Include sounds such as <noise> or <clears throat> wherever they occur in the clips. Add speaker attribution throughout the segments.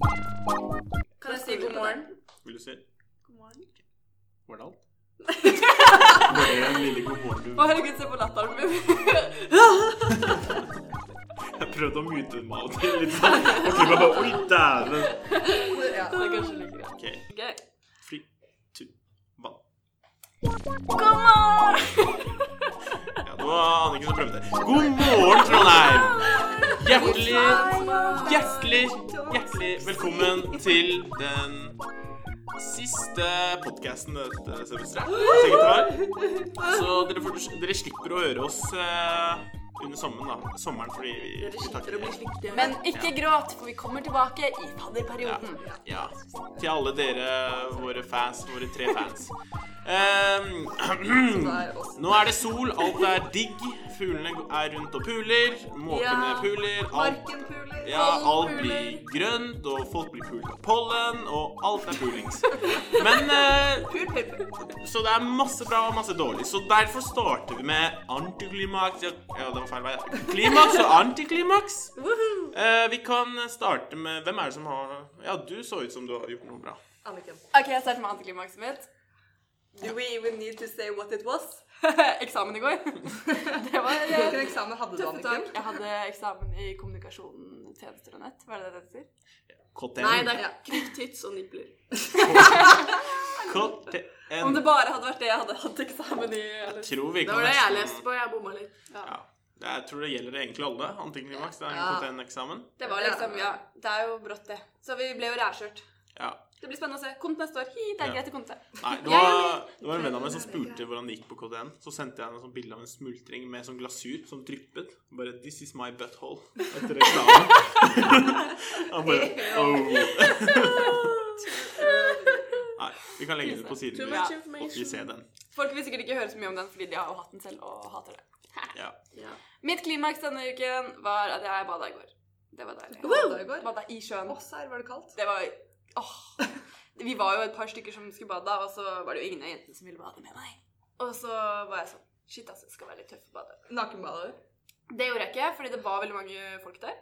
Speaker 1: Kan jeg si god morgen?
Speaker 2: Vil du se?
Speaker 1: God morgen.
Speaker 2: Var
Speaker 1: <laughs>
Speaker 2: det alt? Bare en lille god morgen du
Speaker 1: Å, herregud, se på latteren min.
Speaker 2: Jeg prøvde å myte den meg til litt sånn. Og Kim bare Oi, dæven.
Speaker 1: ja, <laughs> det er kanskje like greit.
Speaker 2: OK.
Speaker 1: Ok.
Speaker 2: Fri tu... Vann.
Speaker 1: God morgen!
Speaker 2: Ja, det var Anniken som prøvde. God morgen, Trondheim!
Speaker 1: <laughs>
Speaker 2: Hjertelig, hjertelig, hjertelig velkommen til den siste podkasten dette semesteret. sikkert det var. Så dere, får, dere slipper å høre oss eh, under sommeren, da. sommeren fordi vi, vi tar ikke det.
Speaker 1: Men ikke gråt, for vi kommer tilbake i fadderperioden.
Speaker 2: Ja. Til alle dere, våre fans, våre tre fans. Ehm, <clears throat> nå er det sol, alt er digg. Fuglene er rundt og puler. Måkene
Speaker 1: Ja.
Speaker 2: puler. Alt,
Speaker 3: Marken puler.
Speaker 2: ja,
Speaker 1: pollen
Speaker 2: alt
Speaker 1: puler.
Speaker 2: blir grønt, og folk blir pulet av pollen, og alt er pulings. Men eh, Så det er masse bra og masse dårlig. Så derfor starter vi med antiklimaks Ja, ja, det var feil vei. Klimaks og antiklimaks. Eh, vi kan starte med Hvem er det som har Ja, du så ut som du har gjort noe bra.
Speaker 3: Anniken.
Speaker 1: Ok, jeg starter med antiklimakset mitt.
Speaker 3: Do we even need to say what it was?
Speaker 1: <laughs> Eksamen <laughs> i går. Det var eh,
Speaker 3: Hvilken eksamen hadde du,
Speaker 1: tøffe tak.
Speaker 3: Anniken?
Speaker 1: Jeg hadde eksamen i kommunikasjon, tjenester og nett. Var det det det heter?
Speaker 2: KTN.
Speaker 4: Nei, det er
Speaker 3: Ja.
Speaker 4: knytt tits og nipler.
Speaker 1: Om
Speaker 2: KTN.
Speaker 1: det bare hadde vært det jeg hadde hatt eksamen i.
Speaker 2: Jeg
Speaker 1: Eller?
Speaker 2: tror vi
Speaker 4: Det
Speaker 2: kan
Speaker 4: var det jeg
Speaker 2: nesten-
Speaker 4: leste på, jeg bomma litt.
Speaker 2: Ja. Jeg tror det gjelder egentlig alle. Antiklimaks. Det er en
Speaker 3: Ja.
Speaker 2: KTN-eksamen.
Speaker 1: Det var liksom, ja, det er jo brått, det. Så vi ble jo rævkjørt.
Speaker 2: Ja.
Speaker 1: Det blir spennende å se. Kom til neste år. Hi, det er
Speaker 2: Ja.
Speaker 1: greit å komme til.
Speaker 2: Nei, det
Speaker 1: Jeg
Speaker 2: var, det var en venn av meg som spurte hvordan det gikk på KTN. Så sendte jeg en sånn bilde av en smultring med sånn glasur som dryppet. Bare 'This is my butthole' etter reklamen. Han bare <laughs> oh. Nei, vi kan legge den ut på siden.
Speaker 4: Too
Speaker 2: Vi
Speaker 1: Ja.
Speaker 4: much
Speaker 2: får ikke
Speaker 4: information.
Speaker 2: se den.
Speaker 1: Folk vil sikkert ikke høre så mye om den fordi de har jo hatt den selv og hater det. <laughs>
Speaker 2: Ja.
Speaker 4: Ja.
Speaker 1: Mitt klimaks denne uken var at jeg bada i går. Det var deilig.
Speaker 3: Wow! Bada i går?
Speaker 1: Bada i sjøen.
Speaker 3: Å, serr, var det kaldt?
Speaker 1: Det var åh. <laughs> Vi var jo et par stykker som skulle bade, og så var det jo ingen av jentene som ville bade med meg. Og så var jeg sånn Shit, altså, jeg skal være litt tøff og bade.
Speaker 3: Nakenbader.
Speaker 1: Det gjorde jeg ikke, fordi det var veldig mange folk der.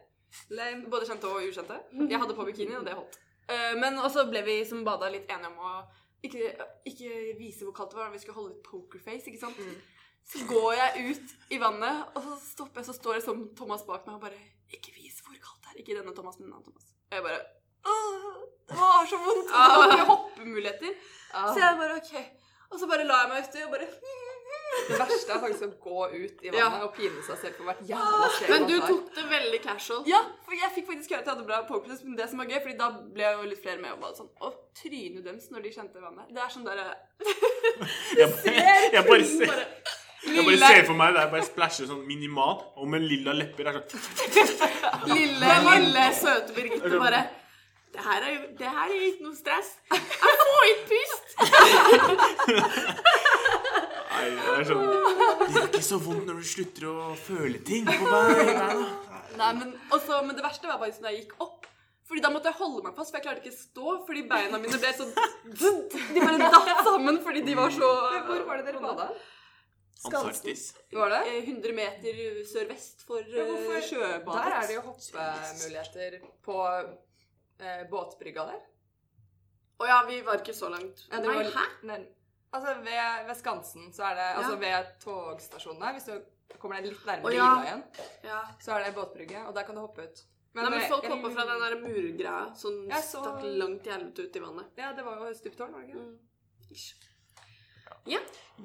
Speaker 3: Lame.
Speaker 1: Både kjente og ukjente. Jeg hadde på bikini, og det holdt. Eh, Men også ble vi som bada litt enige om å ikke, ikke vise hvor kaldt det var. Vi skulle holde litt pokerface, ikke sant.
Speaker 4: Mm.
Speaker 1: Så går jeg ut i vannet, og så stopper jeg, så står det som Thomas bak meg og bare Ikke vis hvor kaldt det er. Ikke denne Thomas, men en annen Thomas. Og jeg bare Åh, det var så vondt.
Speaker 4: Ah.
Speaker 1: Og det var ikke hoppemuligheter.
Speaker 3: Ah.
Speaker 1: Så jeg bare OK. Og så bare la jeg meg uti og bare
Speaker 3: Det verste er faktisk å gå ut i vannet
Speaker 1: Ja.
Speaker 3: og pine seg selv for hvert jævla steg
Speaker 4: Men du
Speaker 3: tar.
Speaker 4: tok det veldig casual.
Speaker 1: Ja, for jeg fikk faktisk høre at jeg hadde bra pokerface, men det som var gøy, fordi da ble jo litt flere med og bare sånn Å, trynet deres når de kjente vannet. Det er sånn derre
Speaker 2: Jeg, bare- <laughs> jeg bare ser
Speaker 1: bare
Speaker 2: jeg bare ser for meg det er bare splæsjer sånn minimalt, og med lilla lepper. Det er sånn
Speaker 4: Lille, lille søte Birgitte bare det her, er, jo- det her er ikke noe stress. Jeg får ikke pust!
Speaker 2: Nei, det er sånn Det er ikke så vondt når du slutter å føle ting på meg. Nei,
Speaker 1: Nei, men, også, men det verste var faktisk når jeg gikk opp. Fordi da måtte jeg holde meg fast, for jeg klarte ikke stå. Fordi beina mine ble sånn De bare datt sammen fordi de var så
Speaker 3: Men Hvor var det dere bada?
Speaker 2: Antarktis.
Speaker 3: Var det?
Speaker 1: Eh, 100 meter sørvest for
Speaker 3: Ja, hvorfor-
Speaker 1: eh, sjøbadet.
Speaker 3: Der er det jo hoppemuligheter på eh, båtbrygga der.
Speaker 4: Å ja, vi var ikke så langt.
Speaker 3: Ja, det
Speaker 4: Nei,
Speaker 3: var-
Speaker 4: hæ?
Speaker 3: Nei. Altså ved, ved Skansen, så er det Altså ved togstasjonen der, hvis du kommer deg litt nærmere
Speaker 4: Å, ja.
Speaker 3: Ila igjen,
Speaker 4: Ja.
Speaker 3: så er det båtbrygge, og der kan du hoppe ut.
Speaker 4: Nei, men
Speaker 3: eh,
Speaker 4: folk
Speaker 3: jeg-
Speaker 4: hoppa fra den der murgreia som
Speaker 3: Jeg så-
Speaker 4: stakk langt i helvete ut i vannet. Mm.
Speaker 3: Ja, det var jo stuptårn, var det ikke?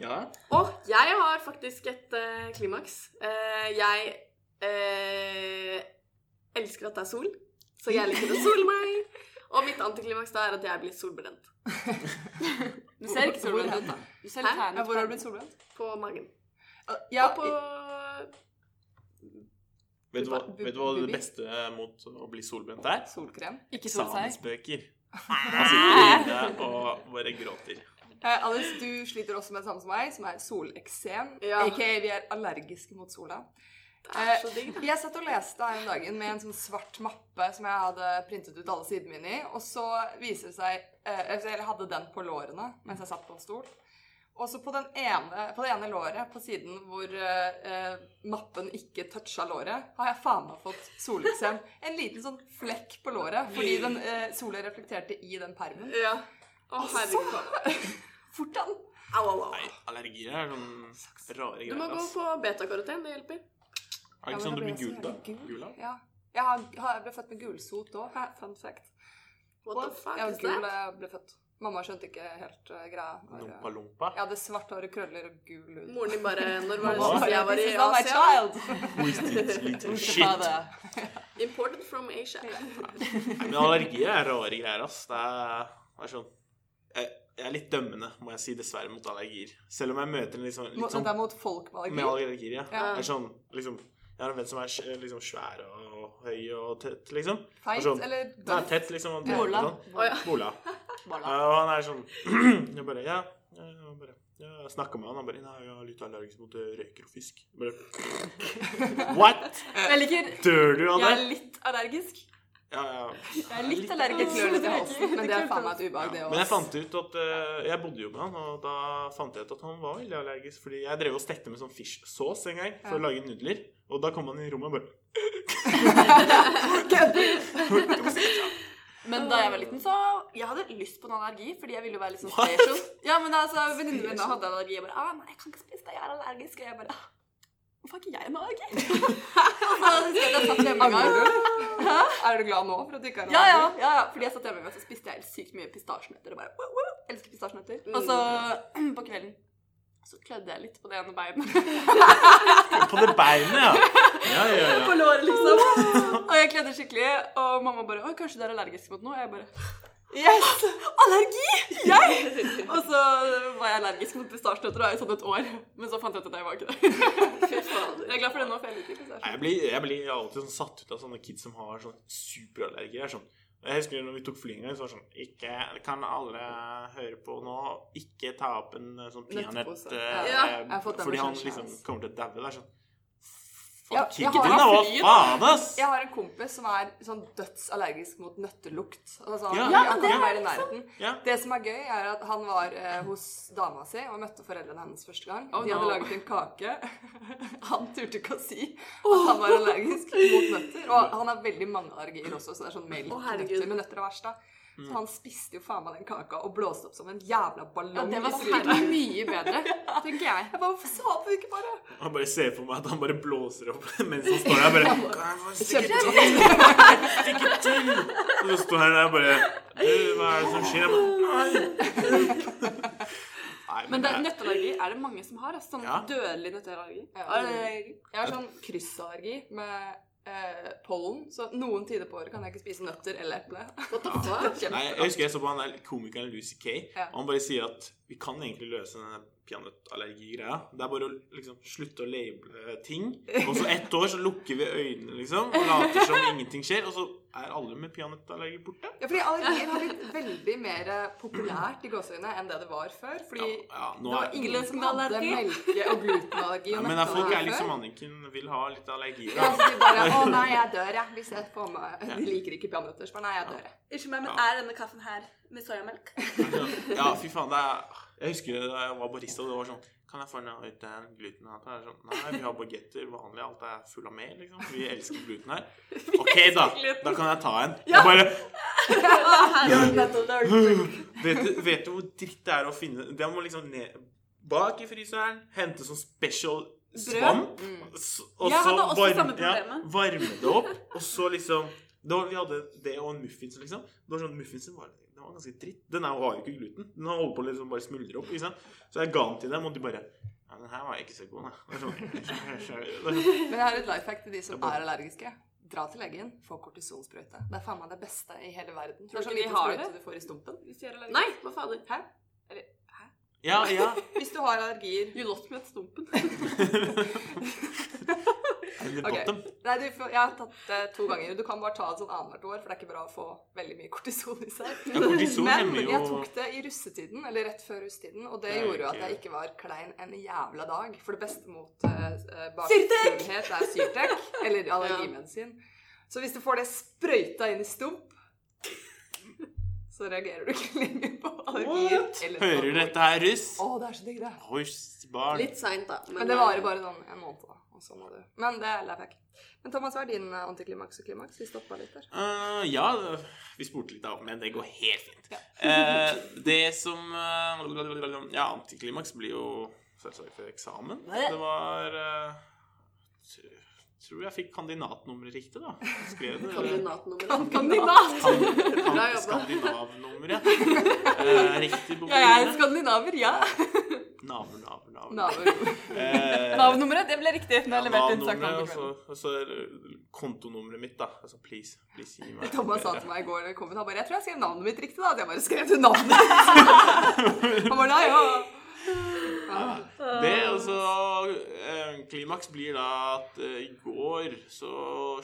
Speaker 2: Ja.
Speaker 4: Og jeg har faktisk et eh, klimaks. Eh, jeg eh, elsker at det er sol, så jeg liker å sole
Speaker 1: <laughs>
Speaker 4: meg. Og mitt antiklimaks da er at jeg blir solbrent
Speaker 1: Du ser ikke
Speaker 3: Hvor-
Speaker 1: solbrent ut, da. Du ser litt
Speaker 4: Hæ?
Speaker 1: tan
Speaker 3: Ja, hvor har
Speaker 1: ut.
Speaker 3: du blitt solbrent?
Speaker 4: på magen.
Speaker 3: Ja,
Speaker 4: og på
Speaker 2: Vet du, hva,
Speaker 3: Bu- bu-
Speaker 2: vet du hva det
Speaker 3: bubi?
Speaker 2: beste mot å bli solbrent er?
Speaker 3: Solkrem.
Speaker 1: Ikke solseg.
Speaker 2: Samispøker.
Speaker 3: Ah.
Speaker 2: Man sitter inne og bare gråter.
Speaker 3: Eh, Alice, du sliter også med det samme som meg, som er soleksem.
Speaker 4: Ja.
Speaker 3: Aka vi er allergiske mot sola.
Speaker 4: Det
Speaker 3: Eh,
Speaker 4: er så digg.
Speaker 3: Jeg satt og leste her om dagen med en sånn svart mappe som jeg hadde printet ut alle sidene mine i, og så viser det seg eh, altså, Eller jeg hadde den på lårene mens jeg satt på en stol. Og så på, den ene, på det ene låret, på siden hvor eh, eh, mappen ikke toucha låret, har jeg faen meg fått soleksem. En liten sånn flekk på låret fordi den eh, sola reflekterte i den permen.
Speaker 1: Ja. Å, herregud.
Speaker 3: Fortan!
Speaker 1: Au, au, au.
Speaker 2: Nei, allergier er sånn rare
Speaker 1: Du må
Speaker 2: greier,
Speaker 1: gå
Speaker 2: ass.
Speaker 1: på betakaroten. Det hjelper.
Speaker 2: Er det ikke
Speaker 3: Ja,
Speaker 2: sånn du
Speaker 3: men da
Speaker 2: blir gul,
Speaker 3: blir jeg så
Speaker 2: da?
Speaker 3: jævlig
Speaker 2: Gul, da?
Speaker 3: Ja. Jeg, har, har, jeg ble født med gulsot òg. Fun fact.
Speaker 1: What the fuck
Speaker 3: ja,
Speaker 1: is
Speaker 3: gul
Speaker 1: that?
Speaker 3: da jeg ble født. Mamma skjønte ikke helt eh, greia. når, eh,
Speaker 2: Lompa, lompa.
Speaker 3: Jeg hadde svart hår og krøller og gul hud.
Speaker 1: Moren din bare
Speaker 5: <laughs>
Speaker 1: Når var det
Speaker 2: Mamma
Speaker 1: sist jeg var i
Speaker 3: This is not my
Speaker 1: Asia?
Speaker 3: child!
Speaker 2: Wasted little
Speaker 3: Ha
Speaker 2: shit.
Speaker 3: det.
Speaker 1: Imported from
Speaker 5: <laughs>
Speaker 1: Asia.
Speaker 2: Nei, men allergier er rare greier, ass. Det er, det er sånn jeg, jeg er litt dømmende, må jeg si, dessverre, mot allergier. Selv om jeg møter en litt sånn,
Speaker 3: Mot-
Speaker 2: litt sånn
Speaker 3: Det er mot folk med
Speaker 2: med
Speaker 3: allergi.
Speaker 2: allergier, ja.
Speaker 3: Ja.
Speaker 2: Jeg Er sånn, liksom, jeg har en venn som er sj- liksom svær og høy og tett, liksom.
Speaker 3: Feit
Speaker 2: sånn-
Speaker 3: eller
Speaker 2: Nei, tett, liksom. Og
Speaker 3: Bola.
Speaker 2: og sånn.
Speaker 1: Å ja.
Speaker 2: Bola.
Speaker 3: Bola.
Speaker 2: Ja, Og han er sånn <clears throat> Jeg bare Ja. ja, Jeg bare, ja, jeg snakka med han, han bare Nei, jeg er litt allergisk mot eh, røyker og fisk. Jeg Bare, <laughs> What?
Speaker 5: Jeg liker
Speaker 2: Dør du av
Speaker 5: Jeg
Speaker 2: det?
Speaker 5: er litt allergisk.
Speaker 2: Ja, ja.
Speaker 5: Jeg er litt allergisk
Speaker 3: klør litt sånn- i
Speaker 5: mot
Speaker 3: halsen, men det er faen meg et ubehag, det
Speaker 2: Men jeg
Speaker 3: òg.
Speaker 2: fant ut at eh, Jeg bodde jo med han, og da fant jeg ut at han var veldig allergisk. Fordi jeg drev og stekte med sånn fish sauce en gang for å lage nudler. Og da kom han inn i rommet og
Speaker 5: <laughs>
Speaker 2: bare <laughs> <laughs>
Speaker 5: Men da jeg var liten, så Jeg hadde lyst på en allergi, fordi jeg ville jo være litt sånn special. Ja, men altså, Venninnene mine hadde allergi. Jeg bare ah, 'Nei, jeg kan ikke spise det, jeg er allergisk.' Og jeg bare ah, 'Hvorfor har ikke jeg en allergi?' <laughs> Og så husker jeg at jeg satt hjemme en gang.
Speaker 3: Er du glad nå for at du ikke har
Speaker 5: Ja, ja, ja, ja. Fordi jeg satt hjemme, og så spiste jeg helt sykt mye pistasjenøtter. Og bare wow, wow, elsker pistasjenøtter. Og så <clears throat> på kvelden så klødde jeg litt på det ene
Speaker 3: <laughs>
Speaker 5: beinet.
Speaker 2: På det beinet, ja. Ja, ja, ja.
Speaker 1: På låret, liksom.
Speaker 5: Og jeg klødde skikkelig, og mamma bare 'Å, kanskje du er allergisk mot noe?' Og jeg bare
Speaker 3: Yes!
Speaker 5: Allergi! <laughs>
Speaker 1: <laughs>
Speaker 5: Jeg! Og så var jeg allergisk mot pistasjenøtter da, i sånn et år. Men så fant jeg ut at jeg var ikke det.
Speaker 1: Fy fader.
Speaker 5: Jeg er glad for det nå, for jeg liker
Speaker 2: Nei,
Speaker 5: pistasjenøtter.
Speaker 2: Jeg blir, jeg blir alltid sånn satt ut av sånne kids som har sånn superallergier. Jeg er sånn jeg husker når vi tok fly en gang, så var det sånn ikke, Kan alle høre på nå? Ikke ta opp en eh, sånn peanøtt
Speaker 3: Nøttepose.
Speaker 2: eh,
Speaker 1: Ja,
Speaker 3: jeg har fått den
Speaker 2: Fordi han
Speaker 3: beskjeden
Speaker 2: liksom
Speaker 3: selv.
Speaker 2: kommer til å daue. Det er sånn
Speaker 3: Ja,
Speaker 2: Fuck
Speaker 3: jeg
Speaker 2: kidden,
Speaker 3: har
Speaker 2: da! Hva
Speaker 3: flyet.
Speaker 2: faen, ass?
Speaker 3: Jeg har en kompis som er sånn dødsallergisk mot nøttelukt. Altså,
Speaker 2: Ja,
Speaker 3: han,
Speaker 2: ja,
Speaker 3: han
Speaker 2: det
Speaker 3: kan være i nærheten.
Speaker 2: Ja.
Speaker 3: Det som er gøy, er at han var eh, hos dama si og møtte foreldrene hennes første gang. De hadde
Speaker 5: no.
Speaker 3: laget en kake. <laughs> Han turte ikke å si at han var allergisk mot nøtter. Og han har veldig mange allergier også, så det er sånn melk
Speaker 1: Å, herregud.
Speaker 3: nøtter, men nøtter er verst, da.
Speaker 2: Mm.
Speaker 3: Så han spiste jo faen meg den kaka og blåste opp som en jævla
Speaker 5: Ja,
Speaker 3: ballong.
Speaker 5: det var
Speaker 3: i
Speaker 5: sikkert
Speaker 3: stryket.
Speaker 5: mye bedre, tenker jeg.
Speaker 3: Jeg bare, Hvorfor sa du ikke bare
Speaker 2: Han bare ser for meg at han bare blåser opp <laughs> mens han står der bare «Kan jeg få stikke til? <laughs> Stikke til! Og så står han der bare Du, hva er det som skjer? Jeg bare Nei! <laughs> Nei,
Speaker 5: Men det,
Speaker 2: jeg-
Speaker 5: nøtteallergi er det mange som har. Altså, sånn
Speaker 2: Ja.
Speaker 5: dødelig nøtteallergi.
Speaker 3: Allergi. Jeg har sånn kryssallergi med eh, pollen, så noen tider på året kan jeg ikke spise nøtter eller eple.
Speaker 1: What the fuck?
Speaker 2: Nei, jeg husker jeg så på han der komikeren Lucy Kay,
Speaker 3: Ja.
Speaker 2: og han bare sier at vi kan egentlig løse denne peanøttallergigreia. Det er bare å liksom slutte å label ting. Og så ett år så lukker vi øynene, liksom, og later som ingenting skjer, og så er alle med peanøttallergi borte.
Speaker 3: Ja, fordi allergier har blitt veldig mer eh, populært i gåseøynene enn det det var før. Fordi
Speaker 2: Ja, ja, nå er-
Speaker 3: det var ingen som hadde
Speaker 5: Glutenallergi.
Speaker 3: melke- og glutenallergi
Speaker 2: Ja,
Speaker 3: og
Speaker 2: men da folk er liksom-
Speaker 3: nøtteallergi
Speaker 2: litt som
Speaker 3: før.
Speaker 2: Anniken, vil ha litt allergier.
Speaker 3: Ja,
Speaker 2: Da.
Speaker 3: så de bare 'Å nei, jeg dør, jeg'. Hvis jeg får meg De liker ikke peanøtter. så bare, Nei, jeg dør, jeg.
Speaker 6: Unnskyld meg, men
Speaker 2: Ja.
Speaker 6: er denne kaffen her med
Speaker 1: <laughs>
Speaker 6: soyamelk?
Speaker 2: <laughs> Ja, fy faen, det er Jeg husker da jeg var barista, og det var sånn Kan jeg få en uten gluten? her?» Det er Sånn, Nei, vi har bagetter vanlig, alt er full av mel, liksom. Vi elsker gluten <laughs> her. OK, da. Da kan jeg ta en. Jeg bare vet, du- vet du hvor dritt det er å finne Det må liksom ned bak i fryseren, hente sånn special svamp, s- og
Speaker 6: Mm. Jeg
Speaker 2: så
Speaker 6: hadde også samme
Speaker 2: varme, ja,
Speaker 6: problemet.
Speaker 2: varme det opp, og så liksom det var, Vi hadde det og en muffins, liksom. Det var sånn, Muffinsen var, den var ganske dritt. Den her har jo ikke gluten. Den har holdt på å liksom bare smuldre opp. ikke sant? Så jeg ga den til dem, og de bare Ja, den her var ikke så god, da. Det var sånn, jeg skjønner, jeg skjønner. Det var sånn,
Speaker 3: Men jeg har et life hack til de som er allergiske. Dra til legen, få kortisonsprøyte. Det er faen meg det beste i hele verden. Det
Speaker 5: Tror
Speaker 3: er
Speaker 5: du
Speaker 3: sånn
Speaker 5: ikke de
Speaker 3: liten
Speaker 5: har det?
Speaker 3: sprøyte du får i stumpen. Hvis du, er allergisk.
Speaker 1: Nei, hva fader? Hæ?
Speaker 2: Ja, ja.
Speaker 3: hvis du har allergier
Speaker 5: You lost me at stumpen.
Speaker 2: Under
Speaker 3: Ok.
Speaker 2: bottom.
Speaker 3: Nei, du, får- jeg har tatt det to ganger. Du kan bare ta det sånn annethvert år, for det er ikke bra å få veldig mye kortison i seg.
Speaker 2: Ja, kortison
Speaker 3: Men
Speaker 2: hemmer jo-
Speaker 3: jeg tok det i russetiden, eller rett før russetiden, og det
Speaker 2: Det er
Speaker 3: gjorde jo at
Speaker 2: ikke-
Speaker 3: jeg ikke var klein en jævla dag. For det beste mot uh, bakfullhet er Syrtec, eller allergimedisin. Så hvis du får det sprøyta inn i stump så reagerer du ikke lenger på allergier. eller
Speaker 2: Hører du
Speaker 3: allergi.
Speaker 2: dette her, russ?
Speaker 3: Å, det er så digg, det.
Speaker 2: Hors barn.
Speaker 1: Litt seint, da. eh,
Speaker 3: Men det varer bare sånn en måned, da. Og så må du. Men det lever jeg ikke. Men Thomas, hva er din eh, antiklimaks og klimaks? Vi stoppa litt der.
Speaker 2: Eh, ja, vi spurte litt da, men det går helt fint. <laughs> Eh, det som eh, Ja, antiklimaks blir jo selvsagt før eksamen. Det var eh, tr- Tror jeg fikk kandidatnummeret riktig, da. Skrev det. eller?
Speaker 1: Kandidatnummeret.
Speaker 3: <laughs>
Speaker 2: Kan-
Speaker 1: Bra
Speaker 2: kan-
Speaker 1: jobba.
Speaker 2: Skandinavnummeret. Eh, riktig bok.
Speaker 3: Ja, <laughs> jeg er skandinaver, ja.
Speaker 2: Naver, naver, naver.
Speaker 3: <laughs> Naboer.
Speaker 2: Eh,
Speaker 3: Nav-nummeret, det ble riktig. Nå har jeg levert inn
Speaker 2: Nav-nummeret, og
Speaker 3: saken.
Speaker 2: så- og så er det kontonummeret mitt, da. Altså, please, please gi meg
Speaker 3: <laughs> Thomas sa til
Speaker 2: nummeret.
Speaker 3: meg i går da jeg kom ut, han bare 'Jeg tror jeg skrev navnet mitt riktig', da. At jeg bare skrev til navnet <laughs> ditt. Han bare nei, ja.
Speaker 2: Ja, Det, og så eh, Klimaks blir da at eh, i går så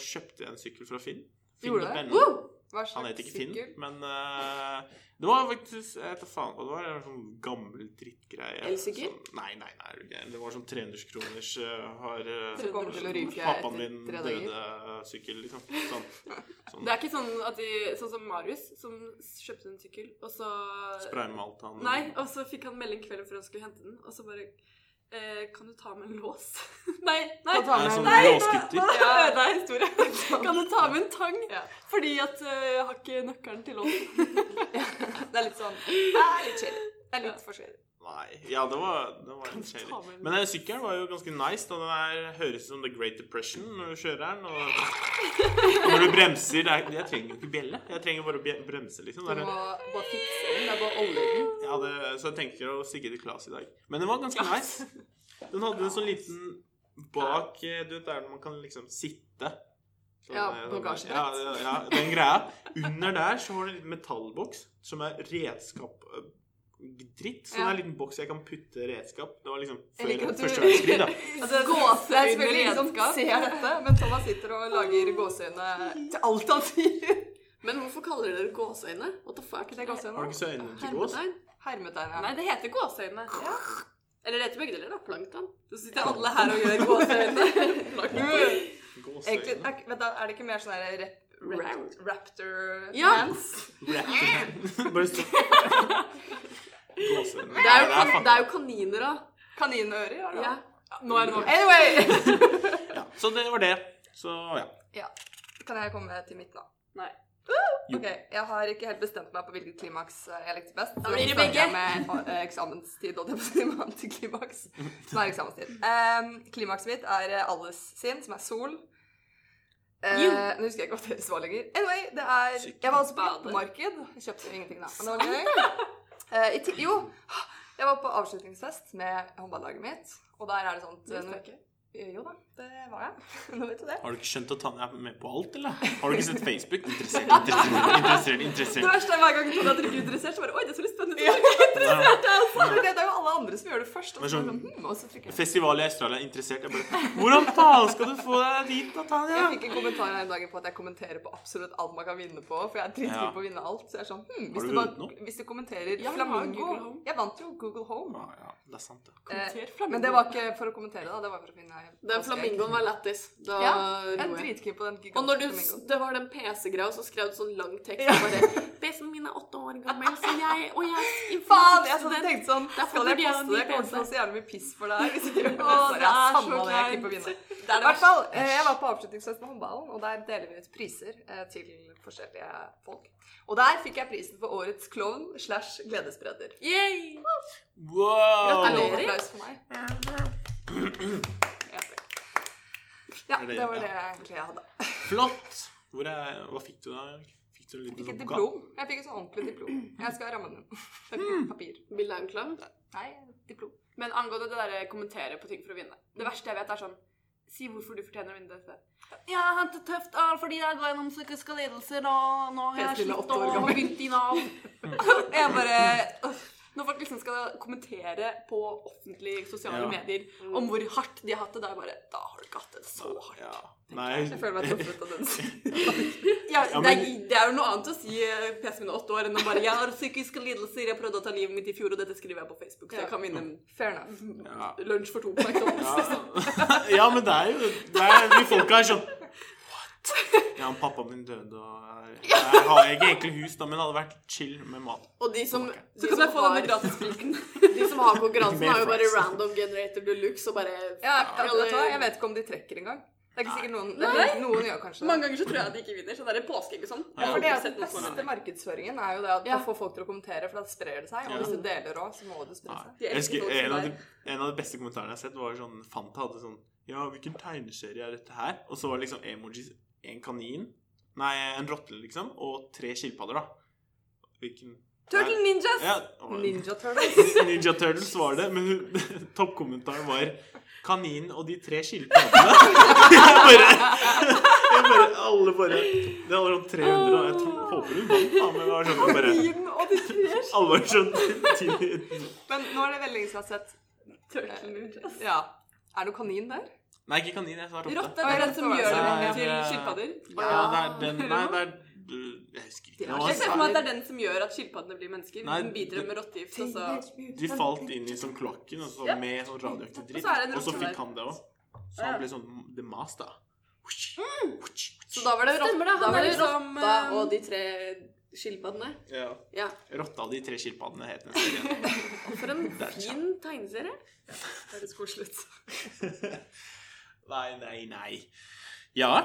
Speaker 2: kjøpte jeg en sykkel fra Finn.
Speaker 3: Gjorde du det?
Speaker 2: Finn.no.
Speaker 3: Hva
Speaker 2: Han heter ikke Finn,
Speaker 3: sykkel?
Speaker 2: men eh, det var faktisk Jeg vet da faen hva det var. En sånn gammel drittgreie.
Speaker 1: Elsykkel?
Speaker 2: Sånn- Nei, nei, nei. er du gæren? Det var sånn 300-kroners eh, har eh,
Speaker 3: Så kommer til å ryke
Speaker 2: Pappaen
Speaker 3: etter
Speaker 2: min
Speaker 3: tre dager.
Speaker 2: døde sykkel, liksom.
Speaker 3: <laughs>
Speaker 2: Sånn. sånn.
Speaker 5: Det er ikke sånn at de Sånn som Marius, som kjøpte en sykkel, og så
Speaker 2: Spray med alt han
Speaker 5: Nei, og så fikk han melding kvelden før han skulle hente den, og så bare eh, Kan du ta med en lås? <laughs> nei, nei!
Speaker 3: Kan ta
Speaker 2: Nei,
Speaker 3: med-
Speaker 2: sånn
Speaker 5: Nei,
Speaker 2: låsgutter.
Speaker 3: <laughs>
Speaker 5: Nå ødela jeg historien. Kan du ta med en tang?
Speaker 3: Ja.
Speaker 5: Fordi at eh, jeg har ikke nøkkelen til låsen.
Speaker 3: Det er litt sånn Det er litt chill. Det er litt forskjellig.
Speaker 2: Nei. Ja, det var, det var
Speaker 5: Kan
Speaker 2: en
Speaker 5: du ta
Speaker 2: kjedelig.
Speaker 5: med en-
Speaker 2: Men den sykkelen var jo ganske nice. da Den her høres ut som The Great Depression når du kjører den.
Speaker 5: <laughs>
Speaker 2: Og, og når du bremser det er, Jeg trenger jo ikke bjelle. Jeg trenger bare å bje- bremse, liksom.
Speaker 3: Du
Speaker 2: Det er,
Speaker 3: må bare fikse den. Det er bare olje i den.
Speaker 2: jeg hadde, så jeg tenker å stikke til Klas i dag. Men den var ganske nice. Den hadde en sånn liten bak eh, Du vet der man kan liksom sitte. Sånn,
Speaker 3: Ja,
Speaker 2: eh,
Speaker 3: bagasjerett.
Speaker 2: Ja, ja, ja, den greia. Under der så har du en liten metallboks som er redskap eh, Dritt. Så det er
Speaker 3: Ja.
Speaker 2: en liten boks jeg kan putte redskap Det var liksom
Speaker 3: Jeg
Speaker 2: før
Speaker 3: liker at du-
Speaker 2: første verdenskrig, da.
Speaker 3: Altså, gåse er selvfølgelig ingen som ser dette, men Thomas sitter og lager gåseøyne til alt han sier.
Speaker 1: Men hvorfor kaller dere det gåseøyne? What the fuck?
Speaker 3: Det er
Speaker 2: Har du
Speaker 3: gåseøyne.
Speaker 2: ikke så øynene til gås?
Speaker 1: Hermetegn?
Speaker 3: Hermetegn, ja.
Speaker 5: Nei, det heter gåseøyne.
Speaker 1: Eller det heter begge deler, da. Plankton.
Speaker 3: Så sitter alle her og gjør gåseøyne. Egentlig,
Speaker 2: Gåseøyne.
Speaker 3: er, ikke- vent da, er det ikke mer sånn der rep, rap, raptor
Speaker 1: Ja.
Speaker 3: hands?
Speaker 2: Raptor. Bare stå Gåseøyne.
Speaker 1: Det er jo,
Speaker 2: Nei,
Speaker 1: kan, det er jo kaniner, da.
Speaker 3: Kaninører, er det
Speaker 1: Ja.
Speaker 3: da?
Speaker 5: Nå er det nok.
Speaker 3: Anyway! <laughs>
Speaker 2: Ja, så det var det. Så ja.
Speaker 3: Kan jeg komme til mitt nå?
Speaker 5: Nei.
Speaker 2: Jo.
Speaker 3: Ok, Jeg har ikke helt bestemt meg på hvilket klimaks eh, jeg likte best.
Speaker 1: blir det
Speaker 3: starter jeg
Speaker 1: begge.
Speaker 3: Med eh, eksamenstid og det på sin <laughs> antiklimaks. Som er eksamenstid. Um, klimakset mitt er eh, Alice sin, som er sol. Eh,
Speaker 1: Jo.
Speaker 3: nå husker jeg ikke hva deres var lenger. Anyway, det er
Speaker 2: Sykt.
Speaker 3: Jeg var også på
Speaker 5: Bade.
Speaker 3: loppemarked. Jeg Kjøpte jo ingenting da. Men det var gøy. Eh, i ti- jo, jeg var på avslutningsfest med håndballaget mitt, og der er det sånt eh,
Speaker 5: Det
Speaker 3: Jo da, det var jeg. <laughs> Nå vet du det.
Speaker 2: Har du ikke skjønt at han er med på alt, eller? Har du ikke sett Facebook? Interessert, interessert, interessert.
Speaker 3: Det
Speaker 2: interessert.
Speaker 3: verste er hver gang jeg trodde at dere ikke interessert, så bare Oi, det så litt spennende
Speaker 5: <laughs>
Speaker 3: ut.
Speaker 2: Ja.
Speaker 3: For Det er jo alle andre som gjør det først. Og
Speaker 2: Men
Speaker 3: så,
Speaker 2: sånn-
Speaker 3: sånn, hmm, og så trykker jeg.
Speaker 2: Festival i Australia er interessert. Jeg bare Hvordan faen skal du få deg dit, da, Tanja?
Speaker 3: Jeg fikk en kommentar her en dag på at jeg kommenterer på absolutt alt man kan vinne på. For jeg er dritflink
Speaker 2: Ja.
Speaker 3: på å vinne alt. Så jeg er sånn hmm,
Speaker 2: Har
Speaker 3: hvis,
Speaker 2: du
Speaker 3: du
Speaker 2: vunnet
Speaker 3: bare,
Speaker 2: noe?
Speaker 3: hvis du kommenterer
Speaker 5: Ja, jeg har
Speaker 3: Flamingo
Speaker 5: Google Home.
Speaker 3: Jeg vant jo Google Home.
Speaker 2: Ja, Ah, ja, det er sant, det.
Speaker 3: Eh,
Speaker 5: Kommenter flamingo.
Speaker 3: men det var ikke for å kommentere, da. Det var for å finne
Speaker 1: Den flamingoen var lættis. Da
Speaker 3: Ja,
Speaker 1: lo
Speaker 3: Jeg er
Speaker 1: jeg.
Speaker 3: dritkeen på den
Speaker 1: Og når du,
Speaker 3: gigantiske flamingoen.
Speaker 1: det var den PC-greia, så skrev du sånn lang tekst og bare PC-en min er åtte år gammel, så jeg Og jeg er
Speaker 3: Faen! Jeg sånn,
Speaker 1: student.»
Speaker 3: tenkte sånn
Speaker 1: er
Speaker 3: Skal jeg
Speaker 1: fordi jeg har
Speaker 3: poste det?
Speaker 1: ny
Speaker 3: Jeg kommer
Speaker 1: PC.
Speaker 3: til å få så jævlig mye piss for deg.
Speaker 5: <laughs>
Speaker 3: Hvis jeg gjør det.
Speaker 5: Å, det
Speaker 3: Så jeg
Speaker 5: er
Speaker 3: samme
Speaker 5: så
Speaker 3: det, jeg
Speaker 5: kleint.
Speaker 3: klipper å vinne.
Speaker 5: Det er
Speaker 3: I
Speaker 5: det
Speaker 3: hvert fall, eh, jeg var på avslutningsfest med håndballen, og der deler vi ut priser eh, til forskjellige folk. Og der fikk jeg prisen for årets klovn slash gledesspreder.
Speaker 5: Yay!
Speaker 3: Gratulerer!
Speaker 2: Wow!
Speaker 1: Gratulerer.
Speaker 3: Applaus for meg. Ja, takk. Ja,
Speaker 2: Er det-
Speaker 3: det var
Speaker 2: ja.
Speaker 3: det jeg egentlig hadde.
Speaker 2: Flott! Hvor er, hva fikk du der? Fikk du en
Speaker 3: Jeg
Speaker 2: liten
Speaker 3: fikk et
Speaker 2: sånn gass?
Speaker 3: diplom. Jeg fikk et sånn ordentlig diplom. Jeg skal ramme den. Det er ikke Papir.
Speaker 1: Bilde av en klovn.
Speaker 3: Nei, diplom.
Speaker 5: Men angående det derre kommentere på ting for å vinne Det verste jeg vet, er sånn Si hvorfor du fortjener å vinne dette. Jeg har hatt det tøft ah, fordi jeg går gjennom psykiske lidelser, og nå har
Speaker 3: Jeg
Speaker 5: jeg
Speaker 3: spiller
Speaker 5: slitt
Speaker 3: åtte år
Speaker 5: og
Speaker 3: gammel.
Speaker 5: har begynt i Nav.
Speaker 3: Jeg bare
Speaker 5: Når folk liksom skal kommentere på offentlige sosiale
Speaker 2: Ja.
Speaker 5: medier om hvor hardt de har hatt det, da er jeg bare Da har du ikke hatt det så hardt.
Speaker 2: Ja. Nei.
Speaker 3: Jeg føler meg truffet av den siden.
Speaker 5: Ja,
Speaker 2: Ja,
Speaker 5: det, er, det er jo noe annet å si eh, PC min er åtte år enn å bare 'Jeg har psykiske lidelser, jeg prøvde å ta livet mitt i fjor, og dette skriver jeg på Facebook', så jeg kan vinne en
Speaker 3: Fair enough.
Speaker 2: Ja.
Speaker 5: lunsj for to på McDonald's.
Speaker 2: Ja. ja, men det er jo det er, De folka er sånn What? Ja, han pappaen min døde, og jeg jeg har ikke egentlig hus, da, men det hadde vært chill med mat.
Speaker 1: Og de som,
Speaker 3: Så
Speaker 1: de
Speaker 3: kan
Speaker 1: som,
Speaker 3: jeg få denne
Speaker 1: har,
Speaker 3: gratisbrilken.
Speaker 1: <laughs> de som har konkurransen,
Speaker 2: Mer
Speaker 1: har jo bare
Speaker 2: fries.
Speaker 1: random generator de luxe og bare
Speaker 3: Ja, jeg, vet du hva? jeg vet ikke om de trekker engang. Det er ikke sikkert noen det er- Noen gjør kanskje det.
Speaker 6: Mange ganger så tror jeg at de ikke vinner. Sånn der påskeegg og sånn.
Speaker 2: Ja,
Speaker 6: Jeg
Speaker 3: For
Speaker 6: har
Speaker 3: det er
Speaker 6: aldri
Speaker 3: jo
Speaker 6: sett
Speaker 3: den
Speaker 6: noe sånt.
Speaker 3: beste markedsføringen er jo det at
Speaker 1: Ja.
Speaker 3: å få folk til å kommentere, for da sprer det seg.
Speaker 2: Ja.
Speaker 3: Og hvis du deler òg, så må det spre
Speaker 2: Nei.
Speaker 3: seg.
Speaker 6: De
Speaker 2: Jeg husker
Speaker 6: liksom. elsker folk
Speaker 2: en
Speaker 6: som
Speaker 2: av,
Speaker 6: er-
Speaker 2: de, en av de beste kommentarene jeg har sett, var sånn Fanta hadde sånn Ja, hvilken tegneserie er dette her? Og så var det liksom emojis en kanin Nei, en rotte, liksom, og tre skilpadder, da. Hvilken
Speaker 3: Turtle
Speaker 2: Nei.
Speaker 3: Ninjas!
Speaker 2: Ja, og-
Speaker 3: Ninja Turtles.
Speaker 2: <laughs> Ninja Turtles var det, men hun- <laughs> toppkommentaren var 'Kaninen og de tre skilpaddene'. <laughs> Jeg bare, jeg bare Alle bare Det var sånn 300, og jeg tror, håper hun vant, da, men det var sånn jeg bare
Speaker 3: Inn og de tre.
Speaker 2: Alle var sånn <laughs> tidlig.
Speaker 3: Men nå er det veldig lenge siden jeg har sett eh,
Speaker 6: Turtle
Speaker 2: <laughs>
Speaker 6: Ninjas.
Speaker 3: Ja. Er det noe kanin der?
Speaker 2: Nei, ikke kanin, jeg sa rotte.
Speaker 6: Rotte det er den som gjør
Speaker 2: Altså, Nei,
Speaker 6: det
Speaker 2: det
Speaker 6: til
Speaker 2: er-
Speaker 6: skilpadder.
Speaker 2: Ja, det er den Nei, det er Jeg husker ikke. hva
Speaker 6: Jeg ser for
Speaker 2: han sa.
Speaker 6: meg at det er den som gjør at skilpaddene blir mennesker.
Speaker 2: Nei,
Speaker 6: den biter dem med altså. rottegift, og så
Speaker 2: De falt inn i sånn kloakken og så med sånn radioaktiv dritt.
Speaker 6: Og så er det en
Speaker 2: Og så
Speaker 6: rotte der.
Speaker 2: fikk
Speaker 6: Mm.
Speaker 2: han det òg. Så han ble sånn The Master.
Speaker 1: Så da var det rotta,
Speaker 5: Stemmer det, han
Speaker 1: da var
Speaker 5: er
Speaker 1: det
Speaker 5: liksom,
Speaker 1: rotta
Speaker 5: eh,
Speaker 1: og de tre skilpaddene.
Speaker 2: Ja.
Speaker 1: Ja.
Speaker 2: Rotta de tre skilpaddene het den serien.
Speaker 1: For en
Speaker 2: Der, ja.
Speaker 1: fin tegneserie. Det er koselig.
Speaker 2: <laughs> Nei, nei, nei. Ja.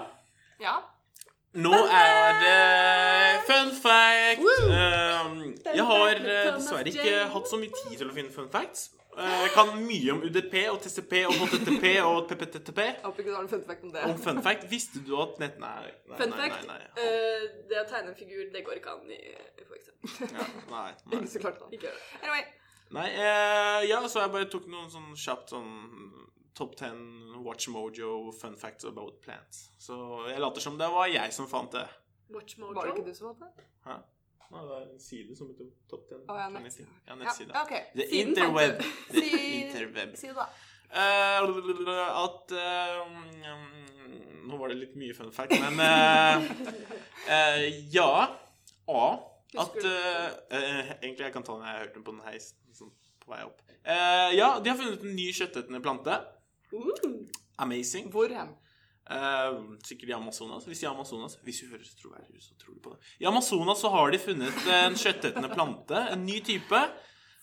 Speaker 3: Ja.
Speaker 2: Nå er
Speaker 1: eh,
Speaker 2: det fun fact. Um, jeg har eh, dessverre ikke hatt så mye tid til å finne fun facts. Eh, Jeg kan mye om UDP og TCP og HTTP og PPTTP.
Speaker 3: Jeg håper ikke du har en fun fact om <laughs> det.
Speaker 2: Om fun fact Visste du at nett... Nei, nei,
Speaker 1: Fun
Speaker 2: nei,
Speaker 1: fact,
Speaker 2: nei, nei.
Speaker 1: eh, det å tegne en figur, det går ikke an i FX.
Speaker 2: Ja, nei, nei.
Speaker 3: Ikke så klart da.
Speaker 1: Ikke gjør det.
Speaker 3: Anyway,
Speaker 2: Nei, eh, ja, så jeg bare tok noen sånn kjapt sånn Top 10 Watch Mojo fun facts about plants. Så jeg later som det var jeg som fant det.
Speaker 1: Watch
Speaker 3: var det
Speaker 1: Mojo.
Speaker 3: ikke du som hadde det?
Speaker 2: Nei, det er en side som heter Top 10.
Speaker 3: Å, ja,
Speaker 2: Kan jeg
Speaker 3: nettside.
Speaker 2: si. Ja,
Speaker 3: Ja,
Speaker 2: nettside.
Speaker 3: ja, OK.
Speaker 2: The
Speaker 3: Siden fant
Speaker 2: interweb.
Speaker 3: du-
Speaker 2: The
Speaker 3: Si-
Speaker 2: interweb.
Speaker 3: Si det, da.
Speaker 2: Eh, at eh, mm, Nå var det litt mye fun fact, men eh, eh, Ja. A. At eh, eh, Egentlig jeg kan ta den, jeg har hørt den på den heis sånn, på vei opp. Eh, ja, de har funnet en ny kjøttetende plante. Amazing.
Speaker 3: Hvor hen?
Speaker 2: Eh, sikkert i Amazonas. Hvis i Amazonas Hvis du høres troverdig ut, så tror du på det. I Amazonas så har de funnet en kjøttetende plante. En ny type.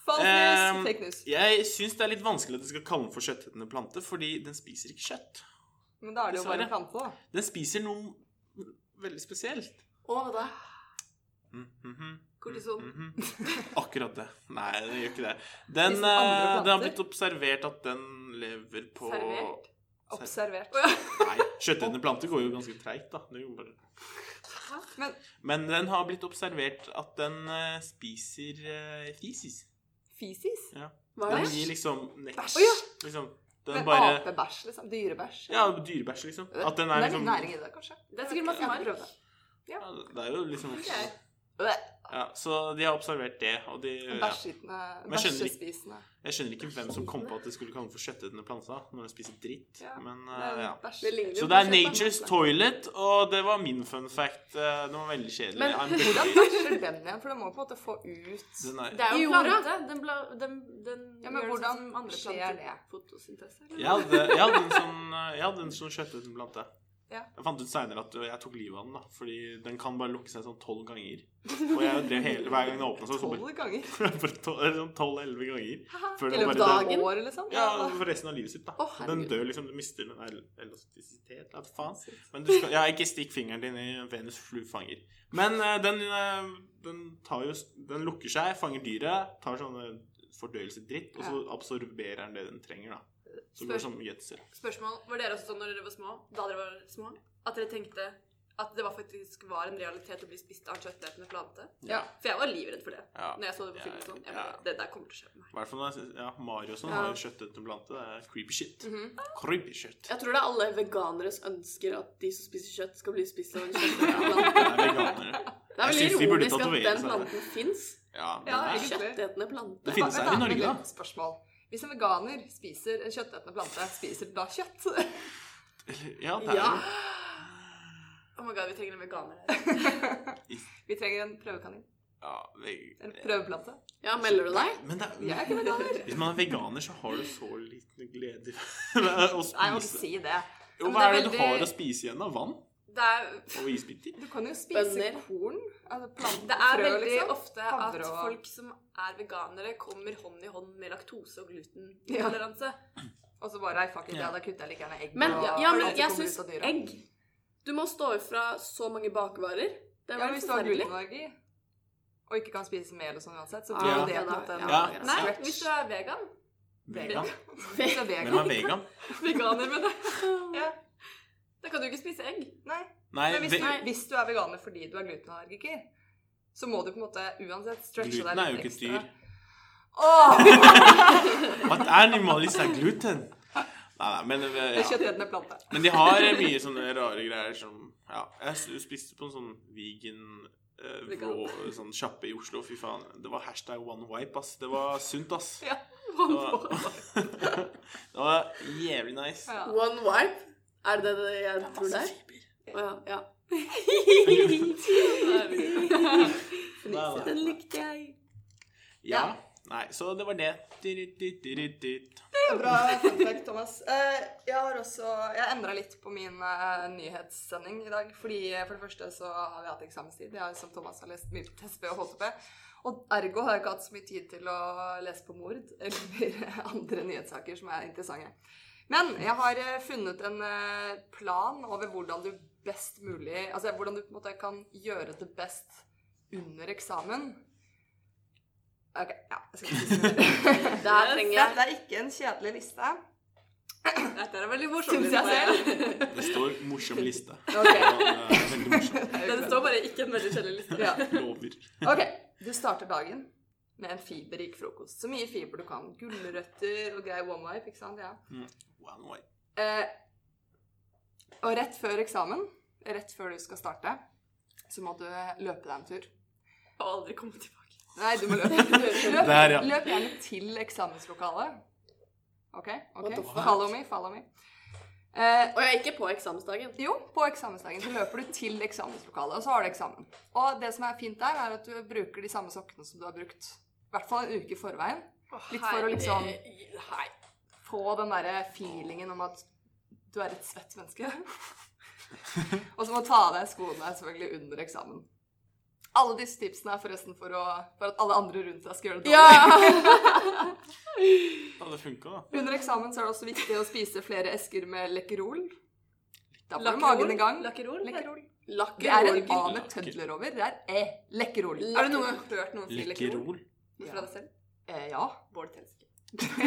Speaker 3: False
Speaker 2: Ehm,
Speaker 3: news, fake news.
Speaker 2: Jeg syns det er litt vanskelig at de skal kalle den for kjøttetende plante, fordi den spiser ikke kjøtt.
Speaker 3: Men da er det jo bare
Speaker 2: dessverre.
Speaker 3: en plante, da.
Speaker 2: Den spiser noe veldig spesielt.
Speaker 1: Og hva da?
Speaker 2: Mm, mhm, mm,
Speaker 1: Kortison.
Speaker 3: <laughs>
Speaker 2: mhm. Akkurat det. Nei, den gjør ikke det. Den,
Speaker 3: Spiser andre
Speaker 2: eh, det har
Speaker 3: planter?
Speaker 2: blitt observert at den lever på
Speaker 1: Servert?
Speaker 3: Observert.
Speaker 2: Nei, kjøttetende planter går jo ganske treigt, da. Det gjør jo bare...
Speaker 3: Men-
Speaker 2: Men den har blitt observert at den eh, spiser uh, fisis.
Speaker 3: Fisis?
Speaker 1: Hva er
Speaker 2: Den
Speaker 1: det?
Speaker 2: gir liksom nektar.
Speaker 3: Å, ja.
Speaker 2: Liksom,
Speaker 3: Men
Speaker 2: den bare
Speaker 3: apebæsj, liksom? Dyrebæsj?
Speaker 2: Ja, dyrebæsj, liksom. At den er
Speaker 3: Det er litt
Speaker 2: liksom
Speaker 3: næring i det, kanskje.
Speaker 1: Det er sikkert masse
Speaker 3: Jeg har
Speaker 1: mark.
Speaker 3: ikke prøvd det.
Speaker 2: Ja, det er jo liksom
Speaker 3: Øh,
Speaker 2: Ja, så de har observert det, og de ja.
Speaker 3: Bæsjetende
Speaker 2: Men jeg skjønner ikke-
Speaker 3: Bæsjespisende.
Speaker 2: Jeg skjønner ikke hvem som kom på at det skulle kalle den for kjøttetende planta når den spiser dritt,
Speaker 3: Ja,
Speaker 2: men
Speaker 3: Det er
Speaker 2: eh, ja.
Speaker 3: bæsj.
Speaker 1: Det ligner jo
Speaker 2: Så
Speaker 1: på
Speaker 2: det er
Speaker 1: kjøttet.
Speaker 2: Nature's Toilet, og det var min fun fact. Eh, Den var veldig kjedelig.
Speaker 1: Men-
Speaker 2: I'm
Speaker 3: Hvordan
Speaker 2: sorry.
Speaker 3: bæsjer den igjen? For den må på en måte få ut
Speaker 2: Den er-
Speaker 1: Det er
Speaker 5: I
Speaker 1: jo
Speaker 5: jorda.
Speaker 1: plante.
Speaker 5: Den, bla, den, den
Speaker 3: Ja,
Speaker 5: gjør
Speaker 3: men
Speaker 5: det
Speaker 3: hvordan
Speaker 5: sånn som andre
Speaker 3: skjer
Speaker 5: planter.
Speaker 3: det?
Speaker 5: Fotosyntese?
Speaker 2: Jeg hadde, jeg hadde en sånn, eh, jeg hadde en sånn kjøttetende plante.
Speaker 3: Ja.
Speaker 2: Jeg fant ut seinere at jeg tok livet av den, da, fordi den kan bare lukke seg sånn tolv ganger. Og jeg drev hele, hver gang den åpna seg, så
Speaker 3: tolv ganger.
Speaker 2: <laughs> bare sånn tolv-elleve ganger. Før
Speaker 1: I
Speaker 2: den
Speaker 1: løpet av
Speaker 2: bare dør.
Speaker 1: dagen?
Speaker 3: År, liksom.
Speaker 2: Ja, for resten av livet sitt, da.
Speaker 1: Å,
Speaker 2: Så den
Speaker 1: herregud.
Speaker 2: dør liksom, du mister den el- elastisitet. Ja, faen. Men du skal Ja, ikke stikk fingeren din i Venus fluefanger. Men eh, den, eh, den tar jo s- Den lukker seg, fanger dyret, tar sånne fordøyelsesdritt, og så absorberer den det den trenger, da. Så det
Speaker 1: Spør-
Speaker 2: blir som gjødsel.
Speaker 1: Spørsmål. Var dere også sånn når dere var små? Da dere var små? At dere tenkte at det var faktisk var en realitet å bli spist av en kjøttetende plante?
Speaker 3: Ja.
Speaker 1: For jeg var livredd for det
Speaker 2: Ja.
Speaker 1: når jeg så det på
Speaker 2: Ja,
Speaker 1: film. og Sånn. Jeg
Speaker 2: ja.
Speaker 1: bare, Det der kommer til å skje med meg.
Speaker 2: I hvert fall når jeg synes- ja, Mario og sånn
Speaker 1: Ja. Mhm.
Speaker 2: har jo kjøttetende plante. Det er creepy shit. Creepy shit.
Speaker 1: Jeg tror det er alle veganeres ønsker at de som spiser kjøtt, skal bli spist <laughs> av en kjøttetende
Speaker 2: Ja,
Speaker 1: plante.
Speaker 2: det er veganere.
Speaker 1: Det er
Speaker 2: Jeg synes
Speaker 1: veldig
Speaker 2: de burde
Speaker 1: ironisk at
Speaker 2: tatovere
Speaker 1: den
Speaker 2: seg det.
Speaker 1: planten fins.
Speaker 2: Ja, men
Speaker 3: Ja,
Speaker 2: det er-
Speaker 3: egentlig.
Speaker 1: Kjøttetende plante.
Speaker 2: det finnes her
Speaker 3: Vent,
Speaker 2: i
Speaker 3: da,
Speaker 2: Norge,
Speaker 3: vent
Speaker 2: da.
Speaker 3: litt. Spørsmål. Hvis en veganer spiser en kjøttetende plante, spiser den da kjøtt? <laughs>
Speaker 2: Ja, det er
Speaker 1: Ja.
Speaker 2: det.
Speaker 1: Oh my god, vi trenger en veganer her.
Speaker 3: Vi trenger en prøvekanin.
Speaker 2: Ja,
Speaker 3: En
Speaker 2: det-
Speaker 3: prøveplante.
Speaker 1: Ja, melder du deg?
Speaker 2: Men det er
Speaker 3: Jeg er
Speaker 2: <laughs>
Speaker 3: ikke veganer.
Speaker 2: Hvis man er veganer, så har du så liten glede i <laughs> å
Speaker 3: Nei, jeg må ikke
Speaker 2: spise.
Speaker 3: si det.
Speaker 2: Jo, hva
Speaker 3: men det
Speaker 2: er
Speaker 3: er
Speaker 2: det du
Speaker 3: veldig-
Speaker 2: har å spise igjen av vann?
Speaker 5: det er,
Speaker 2: Og isbiter.
Speaker 3: Du kan jo spise
Speaker 5: Bønner.
Speaker 3: korn. Altså planter,
Speaker 5: det er
Speaker 3: frø,
Speaker 5: veldig
Speaker 3: liksom.
Speaker 5: ofte at
Speaker 3: Havre og-
Speaker 5: folk som er veganere, kommer hånd i hånd med laktose- og
Speaker 3: Ja.
Speaker 5: glutenintoleranse.
Speaker 3: Og så bare ei fuck it,
Speaker 2: Ja.
Speaker 3: ja, da kutter jeg like gjerne egg.
Speaker 1: Men,
Speaker 3: og
Speaker 1: ja, men
Speaker 3: alt som
Speaker 1: jeg
Speaker 3: kommer
Speaker 1: syns
Speaker 3: ut av dyra.
Speaker 1: egg Du må stå ifra så mange bakvarer. Det
Speaker 3: Ja,
Speaker 1: var litt
Speaker 3: hvis du har
Speaker 1: forferdelig.
Speaker 3: glutenallergi og ikke kan spise mel og sånn uansett, så
Speaker 1: Ah,
Speaker 3: blir
Speaker 2: ja,
Speaker 3: jo det på en
Speaker 1: da.
Speaker 3: måte en
Speaker 2: Ja.
Speaker 1: Ja.
Speaker 5: Nei,
Speaker 3: stretch.
Speaker 5: hvis du er vegan. <laughs>
Speaker 2: Vegan?
Speaker 3: Hvis du er
Speaker 2: Hvem <laughs>
Speaker 3: vegan.
Speaker 2: er vegan?
Speaker 5: Veganer, mener jeg.
Speaker 3: Ja.
Speaker 5: Da kan du ikke spise egg.
Speaker 3: Nei.
Speaker 2: Nei,
Speaker 3: Men hvis
Speaker 2: ve
Speaker 3: du, hvis du er veganer fordi du er glutenallergiker, så må du på en måte uansett stretche deg
Speaker 2: gluten er jo
Speaker 3: litt
Speaker 2: ikke et
Speaker 3: ekstra.
Speaker 2: dyr.
Speaker 3: Åh!
Speaker 2: What animal is a gluten? Nei, nei, men, eh,
Speaker 3: Det er
Speaker 2: ja.
Speaker 3: kjøttredende plante.
Speaker 2: men de har eh, mye sånne rare greier som Ja, jeg s- spiste på en sånn vegan eh, rå, sånn kjappe i Oslo. Fy faen. Det var hashtag one wipe, ass. Det var sunt, ass.
Speaker 3: Ja,
Speaker 2: det, var, <laughs> det var jævlig nice.
Speaker 3: Ja.
Speaker 1: One wipe? Er det det jeg tror det er? Å ja. ja.
Speaker 2: Nei, nei.
Speaker 1: Den likte jeg.
Speaker 2: Ja. Nei, så det var det. Dit, dit, dit, dit.
Speaker 3: Det er Bra fun fact, Thomas. Eh, jeg har også Jeg endra litt på min eh, nyhetssending i dag. Fordi eh, For det første så har vi hatt eksamenstid. Jeg har, som Thomas har lest mye på TSB og HTP. Og ergo har jeg ikke hatt så mye tid til å lese på mord eller <laughs> andre nyhetssaker som er interessante. Men jeg har eh, funnet en eh, plan over hvordan du best mulig Altså hvordan du på en måte kan gjøre det best under eksamen. Ok, ja. Jeg skal ikke si så mye.
Speaker 1: Der trenger jeg
Speaker 3: Dette er ikke en kjedelig liste.
Speaker 5: Dette er en veldig morsomt.
Speaker 3: Syns jeg selv.
Speaker 2: Det står morsom liste.
Speaker 3: <laughs> Ok.
Speaker 2: Det er Veldig morsomt.
Speaker 5: Det står bare 'ikke en veldig kjedelig liste'.
Speaker 3: Ja.
Speaker 2: Lover.
Speaker 3: Ok, du starter dagen med en fiberrik frokost. Så mye fiber du kan. Gulrøtter og grei one wipe, ikke sant? Ja.
Speaker 2: One wipe.
Speaker 3: Eh, og rett før eksamen, rett før du skal starte, så må du løpe deg en tur.
Speaker 5: Og aldri komme tilbake.
Speaker 3: Nei, du må løpe. Løp,
Speaker 2: Der, ja.
Speaker 3: løp gjerne til eksamenslokalet. OK? ok.
Speaker 2: the fuck?
Speaker 3: Follow me, follow me. Eh,
Speaker 1: Og jeg er ikke på eksamensdagen.
Speaker 3: Jo, på eksamensdagen så løper du til eksamenslokalet, og så har du eksamen. Og det som er fint der, er at du bruker de samme sokkene som du har brukt i hvert fall en uke i forveien. Litt for å liksom få den derre feelingen om at du er et svett menneske. <laughs> og så må du ta av deg skoene selvfølgelig under eksamen. Alle disse tipsene er forresten for, å, for at alle andre rundt deg skal gjøre det dårlig.
Speaker 2: Ja, det funka, da.
Speaker 3: Under eksamen så er det også viktig å spise flere esker med Lekkerol. Da får du
Speaker 5: Lakkerol?
Speaker 3: magen i gang.
Speaker 5: Lakkerol?
Speaker 3: Lekkerol. Det er
Speaker 1: Lakkerol.
Speaker 3: en A med tødler over. Det er E. Lekkerol.
Speaker 5: Har du noen gang hørt noen si lekkerol?
Speaker 2: Lekkerol.
Speaker 5: Fra deg selv?
Speaker 3: Eh, ja. <laughs>
Speaker 5: Bård Telske.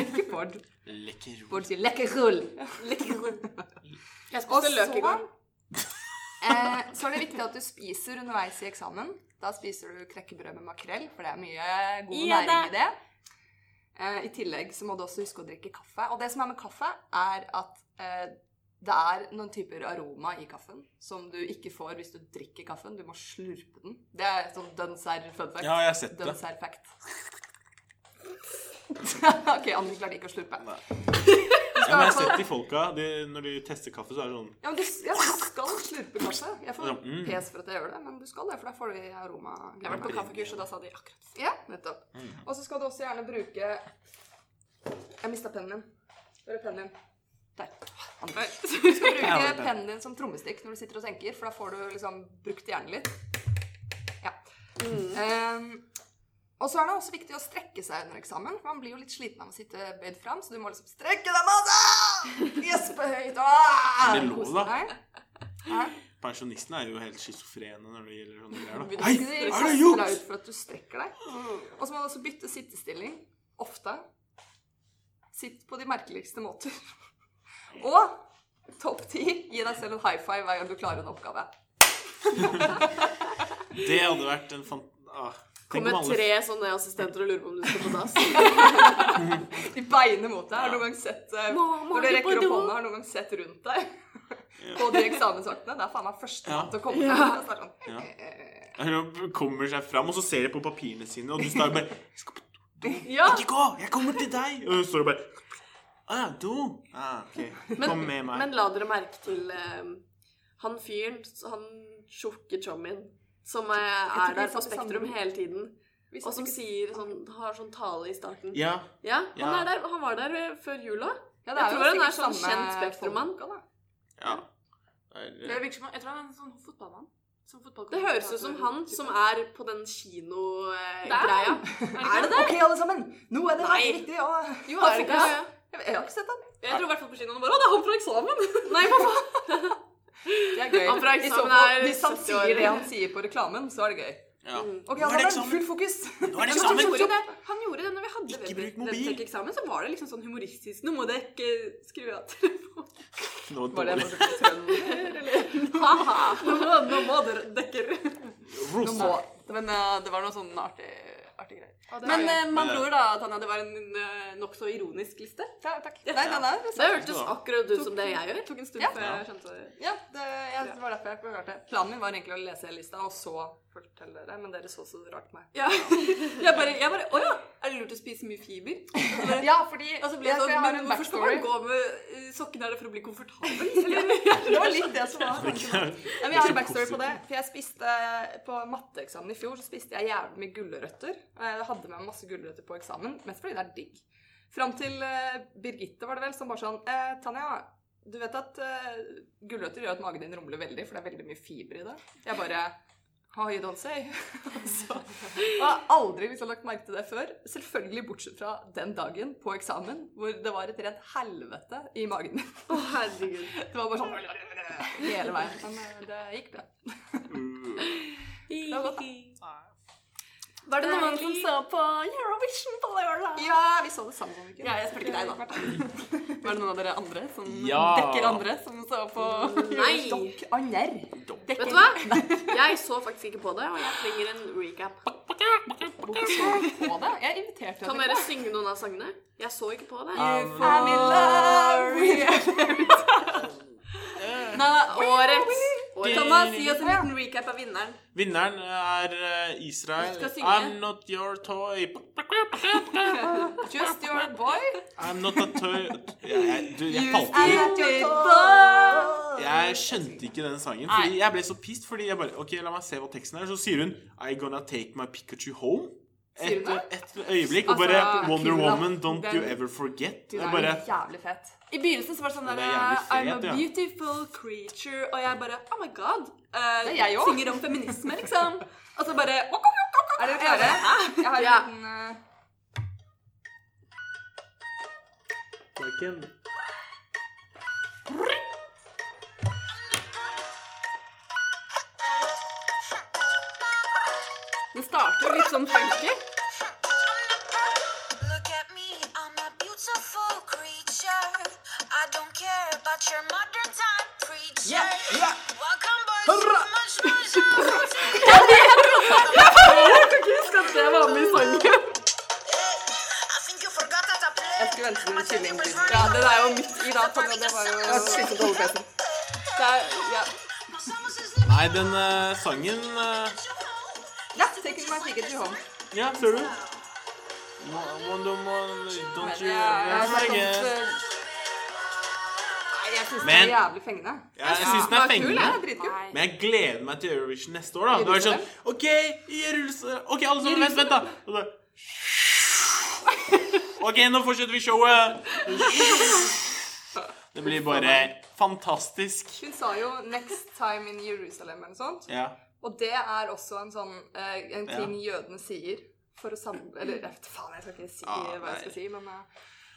Speaker 3: Ikke Bård.
Speaker 2: Lekkerol.
Speaker 3: Bård sier lekkerol.
Speaker 1: Jeg
Speaker 3: Og
Speaker 1: spiste løk i
Speaker 3: så
Speaker 1: går.
Speaker 3: <laughs> eh, Så er det viktig at du spiser underveis i eksamen. Da spiser du knekkebrød med makrell, for det er mye god
Speaker 1: Ja,
Speaker 3: næring i det. Eh, I tillegg så må du også huske å drikke kaffe. Og det som er med kaffe, er at eh, det er noen typer aroma i kaffen som du ikke får hvis du drikker kaffen. Du må slurpe den. Det er sånn dønn serr fun fact.
Speaker 2: Ja, jeg har sett det.
Speaker 3: Dønns er fact. <laughs> ok, Anders klarte ikke å <laughs> slurpe.
Speaker 2: Nei. Ja, men jeg har sett de folka de, Når de tester kaffe, så er det sånn
Speaker 3: Ja, men du, ja, du skal slurpe kaffe. Jeg får
Speaker 2: Ja, mm.
Speaker 3: pes for at jeg gjør det, men du skal det, for da får du i aroma.
Speaker 5: Jeg har vært på kaffekurs, og da sa de akkurat det.
Speaker 3: Ja, nettopp. Og så skal du også gjerne bruke Jeg mista pennen min. Hvor er pennen din? Der. <laughs> Anders. Du skal
Speaker 2: Der var
Speaker 3: bruke
Speaker 2: den.
Speaker 3: pennen din som trommestikk når du sitter og senker, for da får du liksom brukt hjernen litt. Ja. Ehm, og så er det også viktig å strekke seg under eksamen. for Man blir jo litt sliten av å sitte bøyd fram, så du må liksom strekke deg masse! Gjespe høyt Ah! og
Speaker 2: Er det lov, da?
Speaker 3: Hæ?
Speaker 2: Pensjonistene er jo helt schizofrene når det gjelder sånne greier. da.
Speaker 3: Vil du
Speaker 2: Hei,
Speaker 3: ikke
Speaker 2: er
Speaker 3: stresse
Speaker 2: det
Speaker 3: deg
Speaker 2: juks?!
Speaker 3: ut for at du strekker deg?
Speaker 1: Mm.
Speaker 3: Og så må du også bytte sittestilling. Ofte. Sitt på de merkeligste måter. <laughs> Og topp ti gi deg selv en high five hver gang du klarer en oppgave.
Speaker 2: Det hadde vært en fan... Ah, tenk om
Speaker 1: Kommer
Speaker 2: alle
Speaker 1: tre sånne assistenter og lurer på om du skal på
Speaker 3: <laughs>
Speaker 1: dass.
Speaker 3: De beiner mot deg. Har du noen gang sett eh,
Speaker 1: Må, må
Speaker 3: Når du
Speaker 1: du på
Speaker 3: rekker opp
Speaker 1: do?
Speaker 3: hånda, har du noen gang sett rundt deg? <laughs> På de eksamensvaktene. Det er faen meg førstemann til å komme.
Speaker 1: Ja.
Speaker 3: Det er sånn,
Speaker 2: Ja.
Speaker 3: eh,
Speaker 2: Hun kommer seg fram, og så ser de på papirene sine, og du står bare «Jeg skal på-
Speaker 5: Ja!
Speaker 2: Ikke gå! Jeg kommer til deg! Og hun står og bare Å ja, do. Ah, ok. Kom med meg.
Speaker 1: Men la dere merke til eh, han fyren, han tjukke chommien, som eh,
Speaker 3: tror
Speaker 1: er
Speaker 3: vi
Speaker 1: der
Speaker 3: sa
Speaker 1: på
Speaker 3: det
Speaker 1: Spektrum
Speaker 3: samme.
Speaker 1: hele tiden,
Speaker 3: vi
Speaker 1: og som
Speaker 3: snakker-
Speaker 1: sier sånn, har sånn tale i starten.
Speaker 2: Ja.
Speaker 1: Ja, han
Speaker 2: Ja.
Speaker 1: er der, og han var der eh, før jula.
Speaker 3: ja,
Speaker 1: jeg tror han er
Speaker 3: sikkert
Speaker 1: sånn
Speaker 3: samme
Speaker 1: kjent Spektrum-mann.
Speaker 3: folka, da.
Speaker 2: ja.
Speaker 5: Det
Speaker 2: Er, eh,
Speaker 5: virker som, jeg tror han er en sånn fotballmann. Som
Speaker 1: Det høres ut som han som er på
Speaker 5: Der!
Speaker 1: den eh, kinogreia. Er det det?
Speaker 3: Ok, alle sammen! Nå er det
Speaker 1: Nei.
Speaker 3: helt riktig! Ja.
Speaker 1: Jo, er det ikke
Speaker 3: Ja,
Speaker 1: det?
Speaker 3: Jeg, jeg har ikke sett ham.
Speaker 5: Jeg dro i hvert fall på kinoen og bare Å, det er han fra eksamen!
Speaker 1: Nei, hva faen?
Speaker 3: Det er gøy.
Speaker 1: Han fra
Speaker 3: I så
Speaker 1: eksamen
Speaker 3: fall,
Speaker 1: er
Speaker 3: hvis han
Speaker 1: 70 år.
Speaker 3: sier det han sier på reklamen, så er det gøy.
Speaker 2: ja.
Speaker 3: Ok,
Speaker 2: Nå er det
Speaker 3: alle
Speaker 2: eksamen.
Speaker 3: sammen, full <laughs> fokus!
Speaker 2: Nå er det
Speaker 1: sånn
Speaker 5: han,
Speaker 2: eksamen!
Speaker 5: gjorde det, han gjorde det når vi hadde
Speaker 2: Ikke bruk mobil.
Speaker 5: Webtech-eksamen, så var det liksom sånn humoristisk. Nå må dere ikke skru av telefonen.
Speaker 2: Nå
Speaker 3: Var det
Speaker 2: dårlig.
Speaker 3: <laughs> noe slags trønder?
Speaker 5: Nå må, nå må dere dekker.
Speaker 3: Nå
Speaker 2: Rosa.
Speaker 3: må-
Speaker 5: Men eh, det var noe sånn artig, artig greier.
Speaker 3: det
Speaker 5: Men
Speaker 3: er
Speaker 5: eh, man
Speaker 2: Men, eh,
Speaker 5: tror da, Tanja, det var en uh,
Speaker 3: eh,
Speaker 5: nokså ironisk liste.
Speaker 3: Ja, takk. Nei, den er
Speaker 1: Det
Speaker 3: liksom
Speaker 1: hørtes akkurat ut som det jeg gjør.
Speaker 5: tok en stund
Speaker 3: Ja.
Speaker 5: før jeg skjønte det.
Speaker 3: Ja, det, jeg, det var derfor jeg forklarte. Planen min var egentlig å lese hele lista, og så fortelle dere, men dere så så rart på meg.
Speaker 5: Ja. Jeg bare, jeg bare Å ja, er det lurt å spise mye fiber?
Speaker 3: Ja, fordi
Speaker 5: Og så ble jeg
Speaker 3: jeg,
Speaker 5: sånn,
Speaker 3: jeg har
Speaker 5: men
Speaker 3: en
Speaker 5: hvorfor skal man
Speaker 3: backstory.
Speaker 5: gå med eh, sokkene? Er det for å bli komfortabel? Eller?
Speaker 3: Det var litt det som var sånn. tanken.
Speaker 2: Nei,
Speaker 3: Ja, men jeg har en backstory på det. For jeg spiste På matteeksamen i fjor så spiste jeg jævlig mye gulrøtter. Og jeg hadde med meg masse gulrøtter på eksamen, mest fordi det er digg. Fram til eh, Birgitte var det vel, som bare sånn eh, Tanja, du vet at eh, gulrøtter gjør at magen din rumler veldig, for det er veldig mye fiber i det. Jeg bare How you don't say. <laughs> så, og jeg har aldri liksom lagt merke til det før. Selvfølgelig bortsett fra den dagen på eksamen hvor det var et rent helvete i magen min.
Speaker 1: Å, herregud.
Speaker 3: <laughs> Det var bare sånn hele veien. Men eh, det gikk
Speaker 5: <laughs>
Speaker 3: bra.
Speaker 2: Mm,
Speaker 3: var godt, Eh,
Speaker 5: Var det noen som så på Eurovision på lørdag?
Speaker 3: Ja, vi så det sammen om ikke
Speaker 5: Ja, jeg spurte deg, da.
Speaker 3: <laughs>
Speaker 5: Var det noen av dere andre som
Speaker 2: Ja.
Speaker 5: dekker andre, som så på
Speaker 1: Nei!
Speaker 3: Dokk ander.
Speaker 1: Vet du hva? Jeg så faktisk ikke på det, og jeg trenger en recap.
Speaker 3: Hvorfor så du på det? Jeg inviterte
Speaker 1: Kan
Speaker 3: deg.
Speaker 1: dere synge noen av sangene? Jeg så ikke på det.
Speaker 3: I'm in love with
Speaker 5: Nei,
Speaker 1: Årets.
Speaker 2: Din-
Speaker 1: Årets.
Speaker 5: Thomas, gi oss en liten recap av vinneren.
Speaker 2: Vinneren er eh, Israel.
Speaker 5: Du skal synge.
Speaker 2: I'm not your toy.
Speaker 3: Just your boy.
Speaker 2: I'm not a toy Jeg, jeg, du, jeg falt
Speaker 3: I'm
Speaker 2: i
Speaker 3: at your door.
Speaker 2: Jeg skjønte ikke den sangen. Fordi jeg ble så pissed. Fordi jeg bare Ok, la meg se hva teksten er. Så sier hun I gonna take my Pikachu home.
Speaker 3: Sier
Speaker 2: Et,
Speaker 3: hun
Speaker 2: et øyeblikk. Og
Speaker 5: Altså,
Speaker 2: bare Wonder
Speaker 3: Akira,
Speaker 2: Woman, don't
Speaker 5: den-
Speaker 2: you ever forget.
Speaker 3: Du
Speaker 2: Jeg
Speaker 3: er
Speaker 2: bare
Speaker 3: jo jævlig fet.
Speaker 5: I begynnelsen så var det sånn
Speaker 2: Ja,
Speaker 5: der
Speaker 2: det er jævlig
Speaker 5: I'm a
Speaker 2: fet, ja.
Speaker 5: beautiful creature, og jeg bare Oh my god. eh,
Speaker 3: Det er jeg også.
Speaker 5: Synger om feminisme, liksom. Og så bare wok, wok, wok, wok.
Speaker 3: Er dere klare? Jeg har en
Speaker 1: Ja.
Speaker 3: liten eh,
Speaker 2: Like an-
Speaker 5: Den starter jo litt sånn funky.
Speaker 7: Look at me, I'm a beautiful creature. I don't care about your modern time preacher.
Speaker 3: Yeah, yeah.
Speaker 7: Welcome, boys. Hurra! Much
Speaker 3: <laughs>
Speaker 7: more
Speaker 5: Det var med i sangen.
Speaker 7: I think you forgot that I play.
Speaker 3: Jeg skulle vente til den kyllingen.
Speaker 5: Ja, det er jo midt i da, Tonje. Det var jo det er, ja.
Speaker 2: Nei, den eh, sangen eh,
Speaker 3: Ja, take it my ticket to home.
Speaker 2: Ja, ser du? Mo- Wonder Woman, don't you ever forget.
Speaker 3: Nei, jeg syns det
Speaker 2: Men-
Speaker 3: er jævlig fengende.
Speaker 2: Jeg syns den er fengende.
Speaker 3: Det er dritkult.
Speaker 2: Men jeg gleder meg til Eurovision neste år. da Det var sånn OK, Jerusalem OK, alle sammen, vent, vent, da. Og
Speaker 5: <laughs>
Speaker 2: så OK, nå fortsetter vi showet. Det blir bare fantastisk.
Speaker 3: Hun sa jo 'next time in Jerusalem' eller noe sånt.
Speaker 2: Ja.
Speaker 3: Og det er også en sånn eh, en ting jødene sier for å samle Eller jeg vet faen, jeg skal ikke si
Speaker 2: Ah,
Speaker 3: hva jeg skal
Speaker 2: nei.
Speaker 3: si, men eh,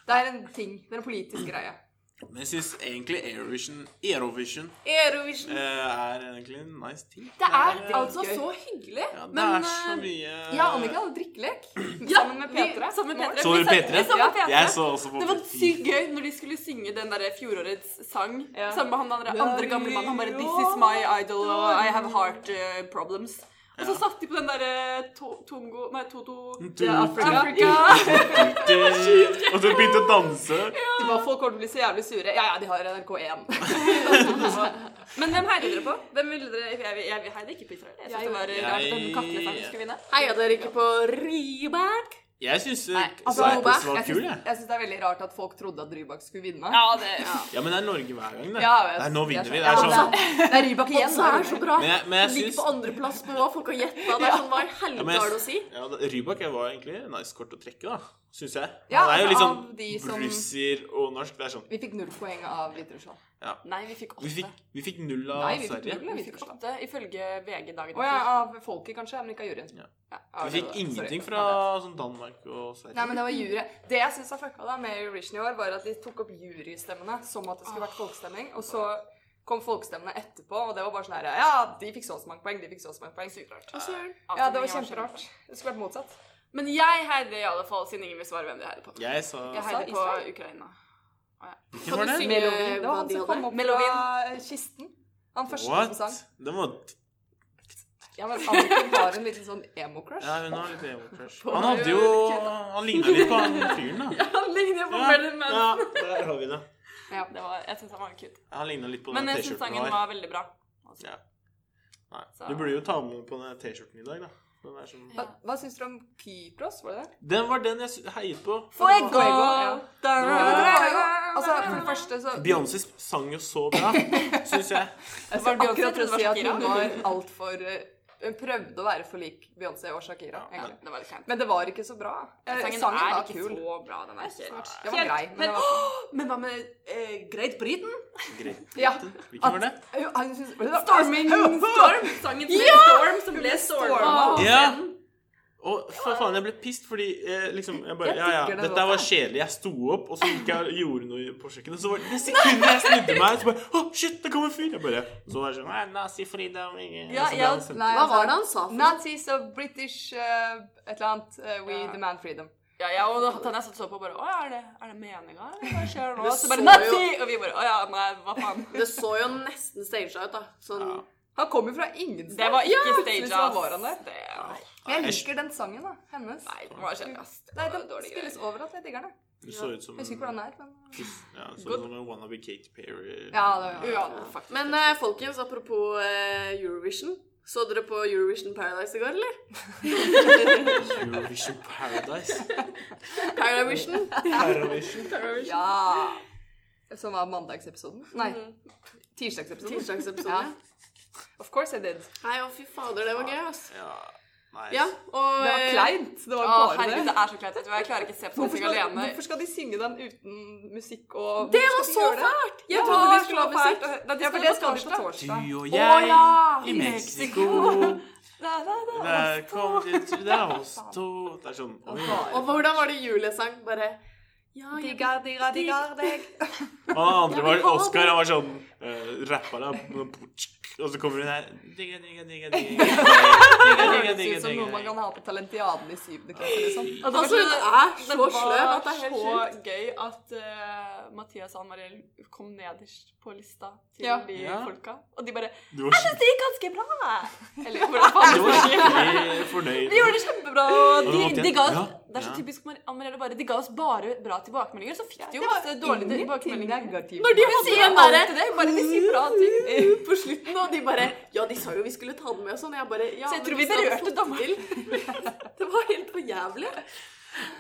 Speaker 3: det er en ting. Det er en politisk greie.
Speaker 2: Men jeg syns egentlig Eurovision, Eurovision
Speaker 5: Eurovision.
Speaker 2: eh, er egentlig en nice ting.
Speaker 5: Det er
Speaker 2: eh,
Speaker 5: altså så hyggelig.
Speaker 2: ja, Det
Speaker 5: men,
Speaker 2: er så
Speaker 5: eh,
Speaker 2: mye
Speaker 3: Jeg og Annika hadde drikkelek sammen med Petra.
Speaker 5: Vi, sammen med Petra.
Speaker 2: Så
Speaker 5: Vi
Speaker 2: dere
Speaker 5: sa-
Speaker 2: P3?
Speaker 5: vi sa på
Speaker 3: Ja.
Speaker 5: P3.
Speaker 2: Jeg så også på
Speaker 5: Det var
Speaker 2: Fy-
Speaker 5: sykt gøy når de skulle synge den der fjorårets sang
Speaker 3: Ja.
Speaker 5: sammen med han andre, andre gamle mannen. Han bare 'This is my idol og I have heart eh, problems'. Og så
Speaker 2: Ja.
Speaker 5: satt de på den derre to, Tongo Nei, Toto
Speaker 2: Du-
Speaker 5: Afrika. <laughs>
Speaker 2: Og så begynte å danse.
Speaker 3: De bare, Folk kommer til å bli så jævlig sure. Ja, ja, de har <laughs> NRK1.
Speaker 5: Men hvem heier dere på? Hvem ville dere Jeg, jeg, jeg heide ikke på Israel. Jeg synes det var eh,
Speaker 2: Jeg-
Speaker 5: rart at den katteleseren skulle vinne.
Speaker 1: Heia dere ikke på Rybak?
Speaker 2: Jeg syns
Speaker 3: altså,
Speaker 2: Cyprus var
Speaker 3: Jeg
Speaker 2: kul,
Speaker 3: syns,
Speaker 2: jeg.
Speaker 3: jeg syns det er veldig rart at folk trodde at Drybak skulle vinne.
Speaker 5: det
Speaker 2: Ja, men det er Norge hver gang, det.
Speaker 3: Ja, jeg-
Speaker 2: Nei, nå vinner
Speaker 3: jeg-
Speaker 2: vi. Det
Speaker 3: ja,
Speaker 2: er sånn.
Speaker 3: Det er Rybak igjen.
Speaker 1: Så er det så bra.
Speaker 2: Men jeg, men jeg
Speaker 1: Ligger
Speaker 2: syns
Speaker 1: på andreplass på hva folk har gjetta. Det er sånn, hva i
Speaker 2: Ja,
Speaker 1: helvete
Speaker 2: men jeg-
Speaker 1: har det å si?
Speaker 2: ja, da- Rybak var egentlig nice kort å trekke, da. syns jeg.
Speaker 3: Ja,
Speaker 2: Han er jo litt
Speaker 3: altså,
Speaker 2: sånn
Speaker 3: av de som-
Speaker 2: brussier og norsk. Det er sånn
Speaker 3: Vi fikk null poeng av Hviterussland.
Speaker 8: Nei, vi fikk
Speaker 2: Vi
Speaker 8: åtte.
Speaker 2: fikk, vi fikk null av
Speaker 3: Nei, vi fikk
Speaker 2: Sverige.
Speaker 3: null av
Speaker 8: Vi fikk
Speaker 3: Hviterussland.
Speaker 8: åtte ifølge VG dagen
Speaker 3: Å ja,
Speaker 8: etter.
Speaker 3: av folket kanskje, men ikke av juryen.
Speaker 2: Ja.
Speaker 3: Ja,
Speaker 2: Vi
Speaker 3: av-
Speaker 2: fikk
Speaker 3: sorry.
Speaker 2: ingenting fra sånn Danmark og
Speaker 3: Nei, men
Speaker 2: Sverige.
Speaker 3: Det var jury. Det jeg syns har fucka da med Eurovision i år, var at de tok opp jurystemmene som at det skulle vært folkestemming. Og så kom folkestemmene etterpå, og det var bare sånn her Ja, de fikk så og så mange poeng, de fikk så og så mange poeng. Sykt rart. Ja, det var kjemperart. Det skulle vært motsatt.
Speaker 8: Men jeg heide i alle fall, siden ingen vil svare hvem de heide på.
Speaker 2: Jeg sa
Speaker 8: Jeg
Speaker 3: sa
Speaker 8: heide på
Speaker 3: Israel.
Speaker 8: Ukraina.
Speaker 2: Hvilken var det?
Speaker 1: synge
Speaker 3: Melovin. Det var
Speaker 1: hva
Speaker 3: han
Speaker 1: de
Speaker 3: som
Speaker 1: hadde?
Speaker 3: kom opp fra
Speaker 8: Melovin.
Speaker 3: kisten. Han første
Speaker 2: What?
Speaker 3: som sang.
Speaker 2: Den var
Speaker 3: Ja, men Anniken var en liten sånn emo-crush.
Speaker 2: Ja, hun har litt emo-crush. Han hadde jo Han ligna litt på han fyren,
Speaker 3: <laughs>
Speaker 2: da.
Speaker 1: Han ligner jo på
Speaker 2: Ja,
Speaker 1: Merlin Manson.
Speaker 2: ja, der har vi det.
Speaker 8: Ja, det var, jeg syns han var cute.
Speaker 2: Han ligna litt på den
Speaker 8: Men jeg syns
Speaker 2: T-skjorten
Speaker 8: sangen
Speaker 2: han har.
Speaker 8: var veldig bra.
Speaker 2: Ja. Nei.
Speaker 8: Så-
Speaker 2: Du burde jo ta med på den T-skjorten i dag, da. Den, er sånn...
Speaker 3: Hva, hva syns dere om Kypros? Var det det?
Speaker 2: den var den jeg sy- heiet på.
Speaker 3: Fuego!
Speaker 8: Ja.
Speaker 3: Det var jo, altså, for det første så
Speaker 2: Beyoncé sang jo så
Speaker 3: <laughs>
Speaker 2: bra, syns jeg.
Speaker 3: Jeg var
Speaker 8: Var det Beyoncé
Speaker 3: Altså, akkurat til å
Speaker 8: trodde
Speaker 3: si
Speaker 8: det var
Speaker 3: at hun
Speaker 8: Shakira?
Speaker 3: var altfor Hun prøvde å være for lik Beyoncé og Shakira.
Speaker 2: Ja.
Speaker 3: egentlig.
Speaker 8: Det var litt kleint.
Speaker 3: Men det var ikke så bra. Eh,
Speaker 8: Sangen,
Speaker 3: sangen
Speaker 8: er
Speaker 3: var
Speaker 8: ikke
Speaker 3: kul.
Speaker 8: så bra. Den er ikke
Speaker 3: Det var grei. Men det var
Speaker 8: Men hva med eh, Great Britain?
Speaker 2: Greit.
Speaker 3: ja.
Speaker 2: Hvilken var det?
Speaker 3: Hun- hun synes- det var-
Speaker 1: Storming Storm. Sangen til
Speaker 5: Ah!
Speaker 1: Storm som ble storma.
Speaker 2: Ja! Og for faen, jeg ble pissed fordi eh, liksom, jeg bare,
Speaker 3: Jeg
Speaker 2: ja, ja,
Speaker 3: digger den
Speaker 2: Dette her var
Speaker 3: låta.
Speaker 2: kjedelig. Jeg sto opp, og så gikk jeg og gjorde noe på kjøkkenet. Så var det det sekundet jeg snudde meg, så bare Å, shit, det kom en fyr! Jeg bare, så var jeg sånn Nei, nazi-Frida og ingen
Speaker 8: Ja,
Speaker 2: Så ble
Speaker 8: ja,
Speaker 2: han sendt-
Speaker 3: Nei,
Speaker 1: Hva
Speaker 3: altså,
Speaker 1: var det han sa? for noe?
Speaker 3: Nazis of British eh, et eller annet. eh, we
Speaker 8: Ja.
Speaker 3: demand freedom.
Speaker 8: Ja, ja, og da, da jeg satt og så på, bare Å, er det, er det meninga? eller Hva skjer nå?
Speaker 1: Det
Speaker 8: Så bare
Speaker 1: så
Speaker 8: Nazi! Og vi bare Å ja, nei, hva faen.
Speaker 1: Det så jo nesten staged ut, da. Sånn,
Speaker 2: Ja.
Speaker 3: Han kom jo fra ingen sted.
Speaker 8: Det var ikke
Speaker 3: plutselig
Speaker 8: stage,
Speaker 3: så var han der.
Speaker 8: Det var-
Speaker 3: Men Jeg liker den sangen, da. Hennes.
Speaker 8: Nei, det var kjedelig, ass. Det
Speaker 3: Nei,
Speaker 8: var
Speaker 3: den
Speaker 8: dårlig
Speaker 3: spilles
Speaker 8: greier.
Speaker 3: overalt. Jeg digger den. jeg.
Speaker 2: Du så ut som
Speaker 3: Jeg husker ikke hvordan den er, men
Speaker 2: Ja, så ut som en wannabe Katy Perry.
Speaker 3: Ja, det var
Speaker 8: Ja, faktisk.
Speaker 1: Men eh, folkens, apropos eh, Eurovision. Så dere på Eurovision Paradise i går, eller?
Speaker 2: Eurovision
Speaker 3: <laughs>
Speaker 2: Paradise.
Speaker 1: Paravision.
Speaker 2: Paravision.
Speaker 1: Paravision.
Speaker 3: Ja. Mhm. Som var mandagsepisoden? Nei, tirsdagsepisoden.
Speaker 1: Tirsdagsepisode.
Speaker 3: Of course I did.
Speaker 1: Nei, å fy fader, det var gøy, ass.
Speaker 2: Ja, nei.
Speaker 1: Ja, og
Speaker 3: Det var
Speaker 1: eh,
Speaker 3: kleint. Det var
Speaker 8: Å,
Speaker 3: bare
Speaker 8: herregud,
Speaker 3: det.
Speaker 8: det er så kleint. Vet du hva, jeg klarer ikke å se på sånne
Speaker 3: Hvorfor
Speaker 8: ting
Speaker 3: skal,
Speaker 8: alene.
Speaker 3: hvorfor skal de synge den uten musikk og
Speaker 1: eh, Det
Speaker 3: hvorfor
Speaker 1: var
Speaker 3: skal de
Speaker 1: så
Speaker 3: gjøre det?
Speaker 1: fælt! Jeg
Speaker 3: Ja,
Speaker 1: trodde vi
Speaker 3: det
Speaker 1: skulle ha
Speaker 3: var
Speaker 1: musikk.
Speaker 3: fælt. Det
Speaker 1: skal
Speaker 3: er for
Speaker 1: de
Speaker 3: det
Speaker 1: på
Speaker 3: skal de på
Speaker 1: torsdag.
Speaker 2: Du
Speaker 3: torsdag.
Speaker 2: og
Speaker 8: Å
Speaker 2: jeg
Speaker 8: ja!
Speaker 2: i Mexico.
Speaker 8: <laughs>
Speaker 2: Velkommen til- til det er oss to. Det er sånn oi.
Speaker 1: Og hvordan var det julesang? Bare ja, jeg
Speaker 3: Digger, digger, digger deg.
Speaker 2: Han andre var Oscar, han var sånn uh, rappa da. Og så kommer hun her digga, digga, digga, digga, digga, digga,
Speaker 3: Det
Speaker 2: digga,
Speaker 3: høres ut
Speaker 2: digga,
Speaker 3: som noe man
Speaker 2: digga.
Speaker 3: kan ha på Talentiaden i syvende klasse, liksom.
Speaker 1: Altså, hun er så sløv at det er helt sjukt. <laughs>
Speaker 8: så gøy at eh, Mathias og Ann-Mariell kom nederst på lista til
Speaker 3: Ja.
Speaker 8: de
Speaker 2: Ja.
Speaker 8: folka. Og de bare
Speaker 2: Du var skikkelig-
Speaker 8: Det gikk ganske bra! Eller hvordan
Speaker 2: <laughs>
Speaker 8: faen
Speaker 2: du
Speaker 8: det
Speaker 2: var
Speaker 8: var.
Speaker 2: skikkelig fornøyd.
Speaker 8: Vi gjorde det kjempebra. Og
Speaker 2: Og
Speaker 8: de,
Speaker 2: du vant
Speaker 8: de ga
Speaker 2: igjen.
Speaker 8: oss,
Speaker 2: Ja.
Speaker 8: Det er så
Speaker 2: Ja.
Speaker 8: typisk Mar- Ann-Mariell å bare De ga oss bare bra tilbakemeldinger. Så fikk de jo masse dårlige
Speaker 3: Ingenting
Speaker 8: tilbakemeldinger.
Speaker 3: negativt.
Speaker 1: Når de
Speaker 8: Hun
Speaker 1: hadde
Speaker 8: sier
Speaker 1: alt
Speaker 8: bare Mm.
Speaker 1: det
Speaker 8: det, bare de sier bra ting.
Speaker 1: på slutten, og de bare Ja, de sa jo vi skulle ta den med og sånn. Jeg bare ja,
Speaker 8: Så
Speaker 1: men
Speaker 8: jeg tror vi
Speaker 1: hvis hadde
Speaker 8: berørte
Speaker 1: fått det til- <laughs> Det var helt for jævlig.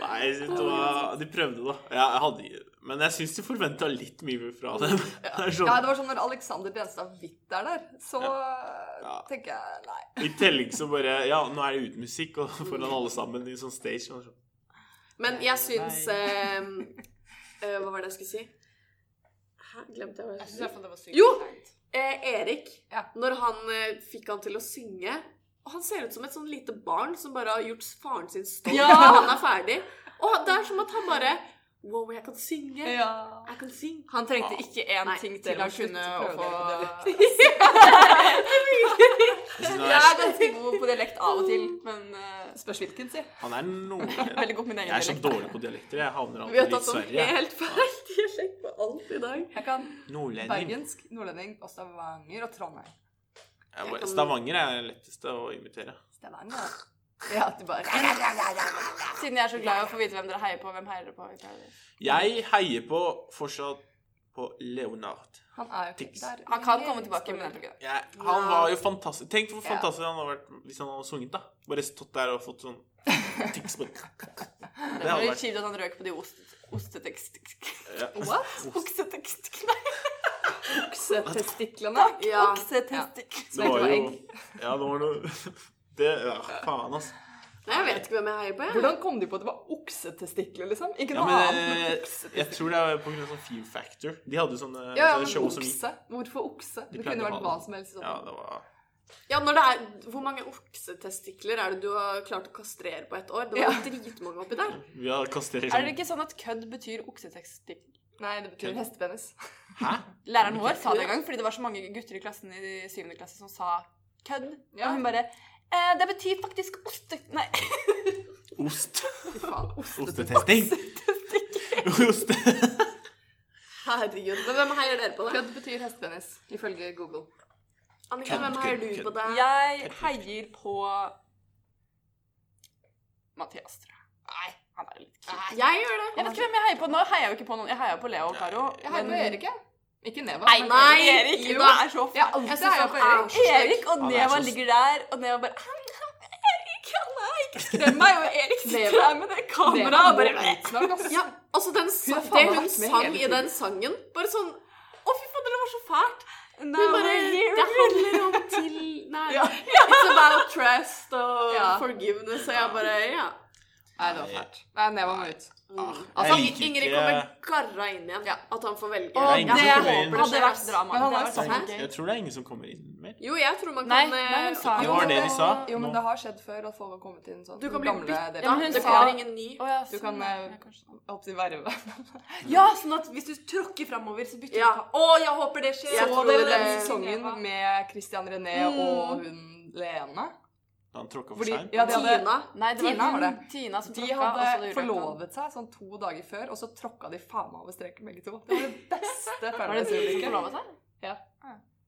Speaker 2: Nei, vet du hva, de prøvde, da. Ja, jeg hadde, men jeg syns de forventa litt mye fra dem. Det er
Speaker 3: Ja,
Speaker 2: sånn,
Speaker 3: det var sånn når Alexander Benstad Hvitt er der, så eh,
Speaker 2: Ja.
Speaker 3: tenker jeg nei.
Speaker 2: I tillegg så bare Ja, nå er det uten musikk, og foran alle sammen i sånn stage. Og sånn.
Speaker 1: Men jeg syns eh, eh, Hva var det jeg skulle si? Hæ, glemte jeg hva jeg skulle si? Jo! Eh, Erik,
Speaker 3: Ja.
Speaker 1: når han eh, fikk han til å synge og Han ser ut som et sånn lite barn som bare har gjort faren sin stolt
Speaker 8: Ja!
Speaker 1: når han er ferdig. Og han- det er som at han bare Wow, jeg kan synge. Jeg kan synge.
Speaker 8: Han trengte ikke én
Speaker 1: Nei,
Speaker 8: ting
Speaker 1: dere
Speaker 8: til
Speaker 1: må
Speaker 8: han kunne
Speaker 3: slutte å
Speaker 8: å få
Speaker 3: prøve
Speaker 8: <laughs>
Speaker 2: Jeg synes
Speaker 8: Jeg
Speaker 2: han
Speaker 8: er ganske god på dialekt av og til, men eh,
Speaker 3: Spørs hvilken, si.
Speaker 2: er- Han er noe
Speaker 8: veldig god på min egen
Speaker 2: Jeg er så
Speaker 8: dialekt.
Speaker 2: dårlig på dialekter. Jeg havner
Speaker 1: Vi har
Speaker 2: alltid i
Speaker 1: tatt sånn
Speaker 2: Sverige.
Speaker 1: helt feil <laughs> dialekt på alt i dag.
Speaker 3: Jeg kan
Speaker 2: Nordlending.
Speaker 3: bergensk, nordlending og Stavanger og Trondheim.
Speaker 2: Jeg bare- Stavanger er det letteste å imitere.
Speaker 3: Stavanger. Ja, at du bare
Speaker 8: Siden jeg er så glad i å få vite hvem dere heier på, hvem heier dere på? i Paradise?
Speaker 2: Jeg heier på fortsatt på Leonard.
Speaker 3: Han er jo ikke
Speaker 2: Tix.
Speaker 3: der.
Speaker 8: Han kan komme tilbake, men jeg tror ikke det.
Speaker 2: Jeg, han var jo fantastisk. Tenk hvor
Speaker 3: Ja.
Speaker 2: fantastisk han hadde vært hvis han hadde sunget, da. Bare stått der og fått sånn tics
Speaker 1: <laughs>
Speaker 2: på Det
Speaker 8: Det
Speaker 2: hadde
Speaker 8: var litt
Speaker 2: vært
Speaker 8: kjipt at han røk på de ost- ostetekst...
Speaker 2: ja.
Speaker 8: <laughs>
Speaker 3: What?
Speaker 8: Oksetekst...
Speaker 3: Oksetestiklene?
Speaker 1: Ja.
Speaker 8: Oksetekst...
Speaker 2: <laughs> Det var jo Ja, det var noe Det Ja, faen, altså.
Speaker 1: Nei, jeg vet ikke hvem jeg heier på, jeg.
Speaker 3: Hvordan kom de på at det var oksetestikler, liksom? Ikke
Speaker 2: Ja,
Speaker 3: noe
Speaker 2: men
Speaker 3: annet
Speaker 2: eh,
Speaker 3: enn
Speaker 2: jeg
Speaker 3: oksetestikler.
Speaker 2: tror det er på grunn av sånn Fear Factor. De hadde sånne
Speaker 3: Ja, ja,
Speaker 2: sånne
Speaker 3: men
Speaker 2: show som gikk.
Speaker 3: okse. Hvorfor okse?
Speaker 2: De
Speaker 3: Det
Speaker 2: pleide å
Speaker 3: kunne
Speaker 2: ha
Speaker 3: vært hva
Speaker 2: det.
Speaker 3: som helst. i sånn.
Speaker 2: Ja, det var
Speaker 1: Ja, når det er, Hvor mange oksetestikler er det du har klart å kastrere på ett år? Det var dritmange oppi der.
Speaker 2: Vi har kastert
Speaker 8: Er det ikke sånn at kødd betyr oksetekstikk?
Speaker 3: Nei, det betyr hestepenis.
Speaker 2: Hæ?
Speaker 8: Læreren vår sa det en gang, fordi det var så mange gutter i klassen i 7. klasse som sa kødd.
Speaker 3: Ja.
Speaker 8: Og hun bare eh, Det betyr faktisk oste... Nei.
Speaker 2: Ost.
Speaker 3: Fy
Speaker 8: <laughs>
Speaker 3: faen.
Speaker 2: Ostetesting. Ost.
Speaker 1: Herregud, men Hvem heier dere på, da?
Speaker 3: Kødd betyr hestepenis, ifølge Google.
Speaker 1: Annika, hvem heier du på? da?
Speaker 8: Jeg heier på Mathias, tror jeg. Nei, han er litt kul.
Speaker 1: Jeg gjør det.
Speaker 8: Jeg vet ikke hvem jeg heier på nå. Heier jeg jo ikke på noen. Jeg heier jo på Leo og Karo.
Speaker 3: Jeg heier på Erik, jeg. Ikke Neva.
Speaker 8: Nei,
Speaker 3: men
Speaker 8: nei,
Speaker 3: Erik.
Speaker 8: Erik
Speaker 1: jo.
Speaker 8: du er så
Speaker 3: Jeg har alltid
Speaker 1: synes
Speaker 3: heia
Speaker 1: han
Speaker 3: på
Speaker 1: er
Speaker 8: <laughs>
Speaker 3: Erik.
Speaker 1: så slem.
Speaker 8: Erik og
Speaker 2: Han er
Speaker 8: Neva
Speaker 2: så-
Speaker 8: ligger der, og Neva bare han, han, Erik, han er ikke skrem meg! Og Erik sitter
Speaker 3: Neva-
Speaker 8: der med det
Speaker 3: Neva
Speaker 8: kameraet og
Speaker 3: må
Speaker 8: bare
Speaker 3: utsnakk, ass.
Speaker 1: Ja, altså den, sa-
Speaker 3: Hun har faen
Speaker 1: Det
Speaker 3: meg
Speaker 1: hun
Speaker 3: vært med hele
Speaker 1: sang i
Speaker 3: tiden.
Speaker 1: den sangen, bare sånn Å, fy fader, det var så fælt.
Speaker 8: Now
Speaker 1: Hun bare
Speaker 8: we're here.
Speaker 1: Det handler om til Nei.
Speaker 3: Ja.
Speaker 1: It's about trust og
Speaker 3: Ja.
Speaker 1: forgiveness, og jeg bare Ja.
Speaker 3: Nei, det var fælt. Nei, Neva må ut.
Speaker 2: Ah,
Speaker 1: Altså,
Speaker 2: Jeg liker
Speaker 1: Ingrid
Speaker 2: ikke-
Speaker 1: kommer garra inn igjen.
Speaker 3: Ja.
Speaker 1: At han får velge.
Speaker 8: Og
Speaker 2: Nei,
Speaker 8: det
Speaker 2: ingen som kommer inn.
Speaker 8: hadde vært drama.
Speaker 3: Men han
Speaker 8: Det
Speaker 3: er
Speaker 2: Det
Speaker 8: hadde vært
Speaker 2: er
Speaker 8: så
Speaker 2: ingen-
Speaker 8: gøy.
Speaker 2: Jeg tror det er ingen som kommer inn mer.
Speaker 1: Jo, jeg tror man
Speaker 8: Nei,
Speaker 1: kan
Speaker 8: nei, hun
Speaker 1: eh,
Speaker 8: sa
Speaker 2: Det var det de sa.
Speaker 3: Jo, men
Speaker 2: Nå-
Speaker 3: det har skjedd før at folk har kommet inn sånn.
Speaker 1: Du kan bli
Speaker 3: Gamle
Speaker 1: bytta.
Speaker 3: dere.
Speaker 1: Ja, men hun
Speaker 8: Det
Speaker 1: sa
Speaker 8: kommer
Speaker 1: ingen ny.
Speaker 8: Å ja,
Speaker 3: Du
Speaker 8: sånn,
Speaker 3: kan,
Speaker 8: ja,
Speaker 3: eh,
Speaker 8: kanskje.
Speaker 3: Jeg håper de verve.
Speaker 5: Ja, sånn at hvis du tråkker framover, så bytter
Speaker 1: Ja.
Speaker 5: du på. Å, jeg håper det skjer!
Speaker 1: Jeg
Speaker 3: Så
Speaker 1: tror
Speaker 3: dere
Speaker 1: det-
Speaker 3: den sesongen med Christian René og hun Lene?
Speaker 2: Han tråkka for
Speaker 3: Fordi,
Speaker 2: seg.
Speaker 3: ja, de hadde,
Speaker 1: Tina.
Speaker 8: Nei, det var
Speaker 3: Tina var
Speaker 8: hun,
Speaker 3: det.
Speaker 8: Tina som
Speaker 3: de
Speaker 8: tråkka, og så
Speaker 3: hadde
Speaker 8: det gjorde
Speaker 3: forlovet seg sånn to dager før, og så tråkka de faen meg over streken begge to. Det var det beste
Speaker 8: han. Var det de som
Speaker 3: Paradise-øyeblikket.
Speaker 8: forlovet seg?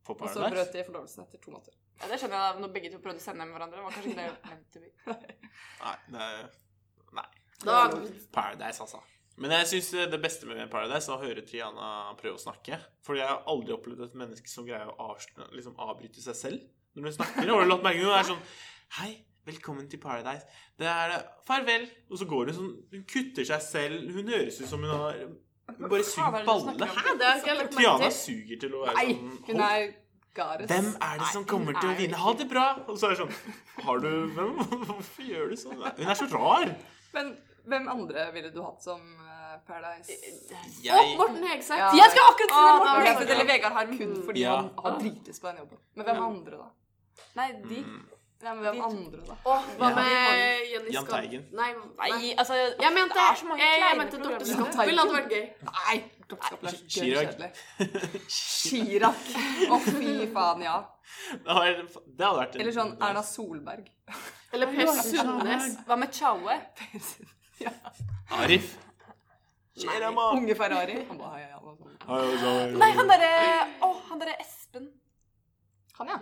Speaker 2: På
Speaker 3: Og så brøt
Speaker 2: Paradise.
Speaker 3: de forlovelsen etter to måneder.
Speaker 8: Ja, det skjønner jeg da, når begge to prøvde å sende dem hverandre. Det var kanskje ikke det meant to be.
Speaker 2: Nei, det er
Speaker 1: Da,
Speaker 2: Paradise, altså. Men jeg syns det beste med Paradise er å høre Triana prøve å snakke. For jeg har aldri opplevd et menneske som greier å avsl- liksom avbryte seg selv når hun snakker. Har du lagt merke til det? Hun er sånn Hei, velkommen til Paradise. Det er det. Farvel. Og så går hun sånn Hun kutter seg selv. Hun høres ut som hun har Hun bare
Speaker 8: er
Speaker 2: suger
Speaker 8: det du snakker
Speaker 2: balle.
Speaker 8: om?
Speaker 1: Hæ, det har ikke jeg lagt merke
Speaker 2: Triana
Speaker 1: til.
Speaker 2: suger til å være
Speaker 3: Nei,
Speaker 2: sånn
Speaker 3: hun
Speaker 2: «Hold
Speaker 3: er Gares.
Speaker 2: Hvem er det som kommer til å vinne? Ha det bra! Og så er det sånn Har du Hvem? <laughs> Hvorfor gjør du sånn? Hun er så rar!
Speaker 3: Men hvem andre ville du hatt som eh, Paradise?
Speaker 2: Jeg
Speaker 1: Morten Hegseth.
Speaker 3: Ja.
Speaker 8: Jeg skal akkurat si det,
Speaker 3: Å,
Speaker 8: Morten! Mm.
Speaker 3: da-
Speaker 8: Hegseth.
Speaker 3: Eller Vegard Harm kun fordi
Speaker 2: Ja.
Speaker 3: han har drites på den jobben. Men hvem andre, da?
Speaker 8: Nei, de
Speaker 3: Nei, men hvem andre, da?
Speaker 1: Åh, hva
Speaker 2: Ja.
Speaker 1: med Jenny
Speaker 2: Jan
Speaker 1: Skavlan?
Speaker 2: Teigen.
Speaker 1: Nei, nei.
Speaker 8: Nei, altså
Speaker 1: Jeg mente,
Speaker 8: Det er så mange
Speaker 1: jeg, jeg
Speaker 8: kleine
Speaker 1: mente Dorte
Speaker 8: programmer.
Speaker 1: Skappel hadde vært gøy.
Speaker 3: Nei! Kappskap er så
Speaker 2: Chirag. <laughs>
Speaker 3: kjedelig. Chirag. Å, fy faen, ja.
Speaker 2: Det hadde det hadde vært en-
Speaker 3: Eller sånn Erna Solberg.
Speaker 1: Eller Per Sundnes.
Speaker 8: Hva med Chaue?
Speaker 3: ja.
Speaker 2: Arif. Nei,
Speaker 3: Unge Ferrari. Han bare, ja, ja, ja, sånn.
Speaker 8: Nei, han derre Å, han derre Espen.
Speaker 3: Han, ja.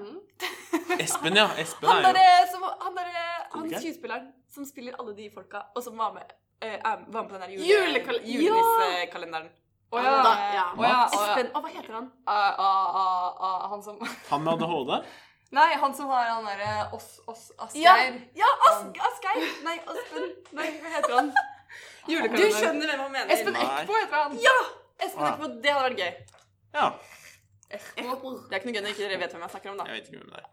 Speaker 2: Espen, ja. Espen
Speaker 8: Han
Speaker 2: er jo
Speaker 8: derre som Eh, Han derre Han
Speaker 2: Komikeren?
Speaker 8: skuespilleren som spiller alle de folka, og som var med, eh, er- var med på den der
Speaker 1: Julekal-
Speaker 8: julenissekalenderen.
Speaker 3: Å ja.
Speaker 1: Da, ja.
Speaker 3: Å ja. å ja.
Speaker 8: Espen Å, hva heter han?
Speaker 3: Ah, ah, ah, ah, Han som
Speaker 2: Han med ADHD?
Speaker 3: Nei, han som har han derre oss, oss,
Speaker 8: Ja,
Speaker 3: Asgeir.
Speaker 8: ja Ask- Asgeir! Nei, Aspen Nei, hva heter han? Du
Speaker 3: Julekalenderen.
Speaker 8: skjønner hvem han mener.
Speaker 3: Espen
Speaker 2: Nei.
Speaker 3: Eckbo heter han.
Speaker 8: Espen Eckbo, det hadde vært gøy.
Speaker 2: Ja.
Speaker 8: Det er ikke noe gøy når ikke dere vet hvem jeg snakker om,
Speaker 2: Jeg
Speaker 8: da.
Speaker 2: vet ikke hvem det er.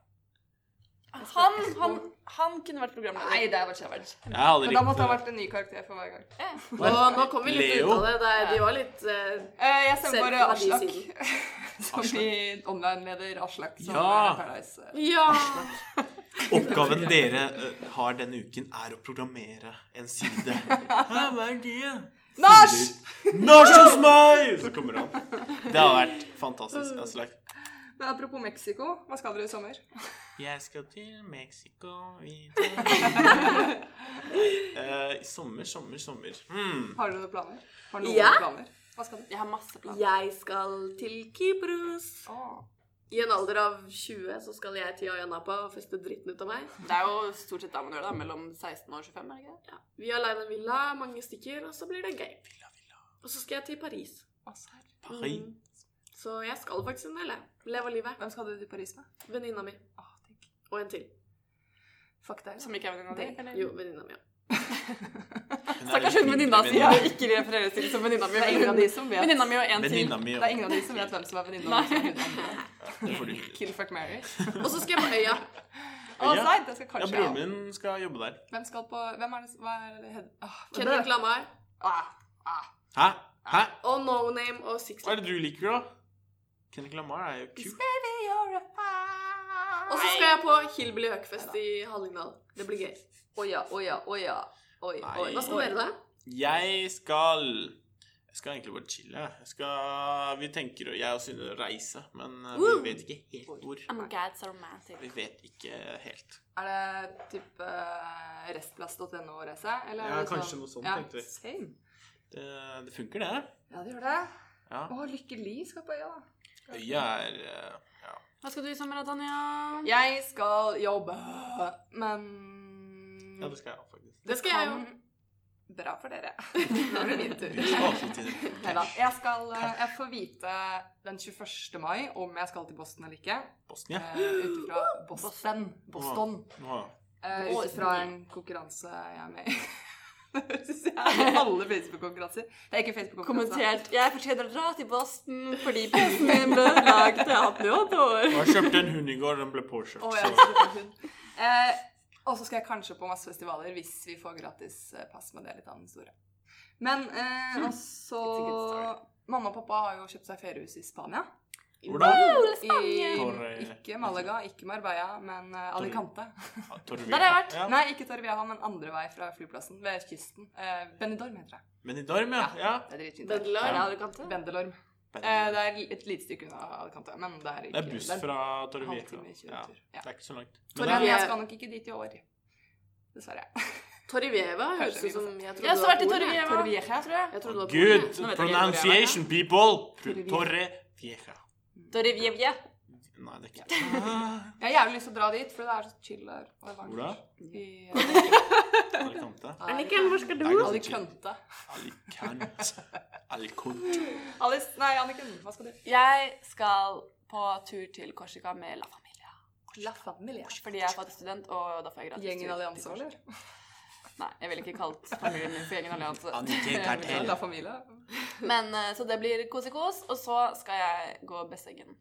Speaker 8: Han, han, han kunne vært programleder.
Speaker 3: Nei, det hadde vært kjevert.
Speaker 2: Jeg hadde
Speaker 3: Men da måtte det ha
Speaker 2: likt
Speaker 3: vært en ny karakter for hver gang.
Speaker 1: Og nå kom vi litt
Speaker 2: Leo.
Speaker 1: ut av det. det de var litt eh,
Speaker 3: Eh, jeg stemmer
Speaker 1: Selv
Speaker 3: for
Speaker 1: fra de
Speaker 3: Aslak.
Speaker 1: siden.
Speaker 3: <laughs> Som blir online-leder Aslak. Som
Speaker 2: Ja.
Speaker 3: er Paradise.
Speaker 1: Ja!
Speaker 2: Oppgaven dere eh, har denne uken, er å programmere en side. Hæ, hva er det?
Speaker 3: Nach!
Speaker 2: Nach hos meg! Så kommer han. Det har vært fantastisk. Aslak.
Speaker 3: Men apropos Mexico, hva skal dere i sommer?
Speaker 2: Jeg skal til Mexico i
Speaker 3: <laughs>
Speaker 2: Eh, Sommer, sommer, sommer. Hmm.
Speaker 3: Har dere noen planer? Har noen
Speaker 1: Ja.
Speaker 3: planer? Hva skal dere?
Speaker 8: Jeg har masse planer.
Speaker 1: Jeg skal til Kypros. I en alder av 20 så skal jeg til Ayanapa og feste dritten ut av meg.
Speaker 8: Det er jo stort sett da man gjør det, da, mellom 16 og 25, er det ikke det?
Speaker 1: Ja. Vi har leid en villa, mange stykker, og så blir det gøy. Og så skal jeg til Paris.
Speaker 2: Paris.
Speaker 1: Mm. Så jeg skal faktisk en del, jeg. Leve livet.
Speaker 3: Hvem skal du til Paris med?
Speaker 1: Venninna mi.
Speaker 3: Åh, Ah, tenk.
Speaker 1: Og en til.
Speaker 3: Fuck deg.
Speaker 8: Som ikke er venninna di? eller?
Speaker 1: Jo, venninna mi. ja.
Speaker 2: Hun er
Speaker 8: Stakkars
Speaker 2: litt
Speaker 8: hun venninna si
Speaker 2: mindre
Speaker 8: jeg ikke refereres til som venninna mi.
Speaker 3: Det er ingen av de som vet
Speaker 8: Venninna mi og en
Speaker 2: venninne.
Speaker 8: til.
Speaker 2: Venninna mi.
Speaker 3: Det
Speaker 2: ja.
Speaker 3: er ingen av de
Speaker 8: <laughs>
Speaker 3: som vet hvem som er venninna. og hvem som er venninna.
Speaker 2: <laughs> Det får du-
Speaker 3: Kill fuck Mary.
Speaker 1: Og så skal jeg på øya.
Speaker 3: Å,
Speaker 2: Ja.
Speaker 3: seint! Jeg skal
Speaker 2: Ja,
Speaker 3: kanskje
Speaker 2: broren min skal jobbe der.
Speaker 3: Hvem skal på Hvem er det som- Hva er det Hed- ah, hva er
Speaker 1: Kendrick
Speaker 3: det?
Speaker 1: Lamar
Speaker 3: Ah, ah.
Speaker 2: Hæ? Hæ?
Speaker 1: og No Name og Six
Speaker 2: Hva er det du liker, da? Kendrick Lamar er jo kul.
Speaker 1: Og så skal jeg på Hillbilly Høgfest i Hallingdal. Det blir gøy.
Speaker 3: Å ja, å ja, å ja. Oi,
Speaker 2: Nei.
Speaker 3: oi.
Speaker 1: Hva skal dere da?
Speaker 2: Jeg skal Jeg skal egentlig bare chille. jeg. Jeg skal Vi tenker jeg og Synne å reise, men eh, vi
Speaker 1: Woo!
Speaker 2: vet ikke helt hvor.
Speaker 8: Oh my god, so romantic.
Speaker 2: Vi vet ikke helt.
Speaker 3: Er det typ eh, restplass.no-reise?
Speaker 2: Ja, kanskje noe sånt, tenkte vi.
Speaker 3: sånn- Same.
Speaker 2: Det, det funker, det.
Speaker 3: Ja, det gjør det.
Speaker 2: Ja.
Speaker 3: Å, Lykke Li skal på øya, da.
Speaker 2: Øya er eh, ja.
Speaker 8: Hva skal du i sommer, da, Tanja?
Speaker 3: Jeg skal jobbe, men
Speaker 2: ja, det skal jeg faktisk.
Speaker 1: Det skal jeg jo.
Speaker 3: Bra for dere. <laughs> Nå er det min tur.
Speaker 2: Du skal også til
Speaker 3: Neida, Jeg, skal, eh, jeg får vite den 21. mai om jeg skal til Boston eller ikke.
Speaker 2: Bosnia.
Speaker 3: eh, Ut ifra Boston. Boston.
Speaker 2: Nå.
Speaker 3: Uh, ut ifra en konkurranse jeg er med i. <laughs> Det synes jeg er i alle Facebook-konkurranser. Det er ikke Facebook-konkurranse.
Speaker 8: Kommentert. Jeg fortjener å dra til Boston <laughs> fordi pussen min ble ødelagt. Jeg har hatt den i åtte år.
Speaker 2: Og jeg kjøpte en hund i går, den ble påkjørt.
Speaker 3: Å,
Speaker 2: så-
Speaker 3: jeg elsker konkurransen. Eh, og så skal jeg kanskje på masse festivaler hvis vi får gratis eh, pass, men det er litt annen historie. Men eh, og så
Speaker 1: It's a good story.
Speaker 3: Mamma og pappa har jo kjøpt seg feriehus i Spania.
Speaker 2: Hvordan?
Speaker 3: I,
Speaker 2: Torre-
Speaker 8: eh,
Speaker 3: ikke Malaga, ikke Marbella, men eh, Alicante.
Speaker 2: Ja, Torre
Speaker 8: Der har jeg vært.
Speaker 2: Ja.
Speaker 3: Nei, ikke Torrevieja, men andre vei fra flyplassen, ved kysten. Eh, Benidorm heter det.
Speaker 2: Men i Dorm, ja. ja.
Speaker 3: Det er dritfint.
Speaker 1: Deadline.
Speaker 2: Ja.
Speaker 3: Bendelorm. Eh, det er et lite stykke unna Alicante, men det er
Speaker 2: Det
Speaker 3: ikke
Speaker 2: er buss
Speaker 3: en
Speaker 2: fra Torre Vieja.
Speaker 3: halvtime
Speaker 2: Ja.
Speaker 3: kjøretur. Ja.
Speaker 2: Det er ikke så langt. Men det
Speaker 3: Men
Speaker 2: er,
Speaker 3: jeg skal nok ikke dit i år. Dessverre.
Speaker 1: Torrevieja høres
Speaker 3: Kanskje vi
Speaker 1: ut som Jeg
Speaker 8: Jeg har også
Speaker 1: trodde
Speaker 8: vært i
Speaker 1: det var ordet.
Speaker 8: Torrevieja.
Speaker 3: <laughs> Torrevieja, tror jeg.
Speaker 1: Jeg trodde det var på
Speaker 2: Good
Speaker 1: ordet.
Speaker 8: jeg
Speaker 2: pronunciation, people!
Speaker 3: Torre Vieja.
Speaker 2: Torre Vieja.
Speaker 8: Torrevieja.
Speaker 2: Nei, det er ikke Ah,
Speaker 3: Jeg har jævlig lyst til å dra dit, for det er så chill der. Og det er varmt.
Speaker 2: Hvor da?
Speaker 3: I
Speaker 2: Alicante.
Speaker 1: Anniken, hvor skal du?
Speaker 2: Det er ganske chill.
Speaker 3: Alicante.
Speaker 2: Alicante. Alicante.
Speaker 3: Alice, nei, Anniken, hva skal du?
Speaker 8: Jeg skal på tur til Korsika med La Familia.
Speaker 3: La familia.
Speaker 8: Fordi jeg er faktisk student, og da får jeg gratis
Speaker 3: Gjengen
Speaker 8: tur til
Speaker 3: Allianse,
Speaker 8: Korsika.
Speaker 3: eller?
Speaker 8: Nei, jeg ville ikke kalt familien min for Gjengen Allianse.
Speaker 2: Anniken Tertel.
Speaker 3: La familia.
Speaker 8: Men, eh, så det blir kosekos, og så skal jeg gå Besseggen.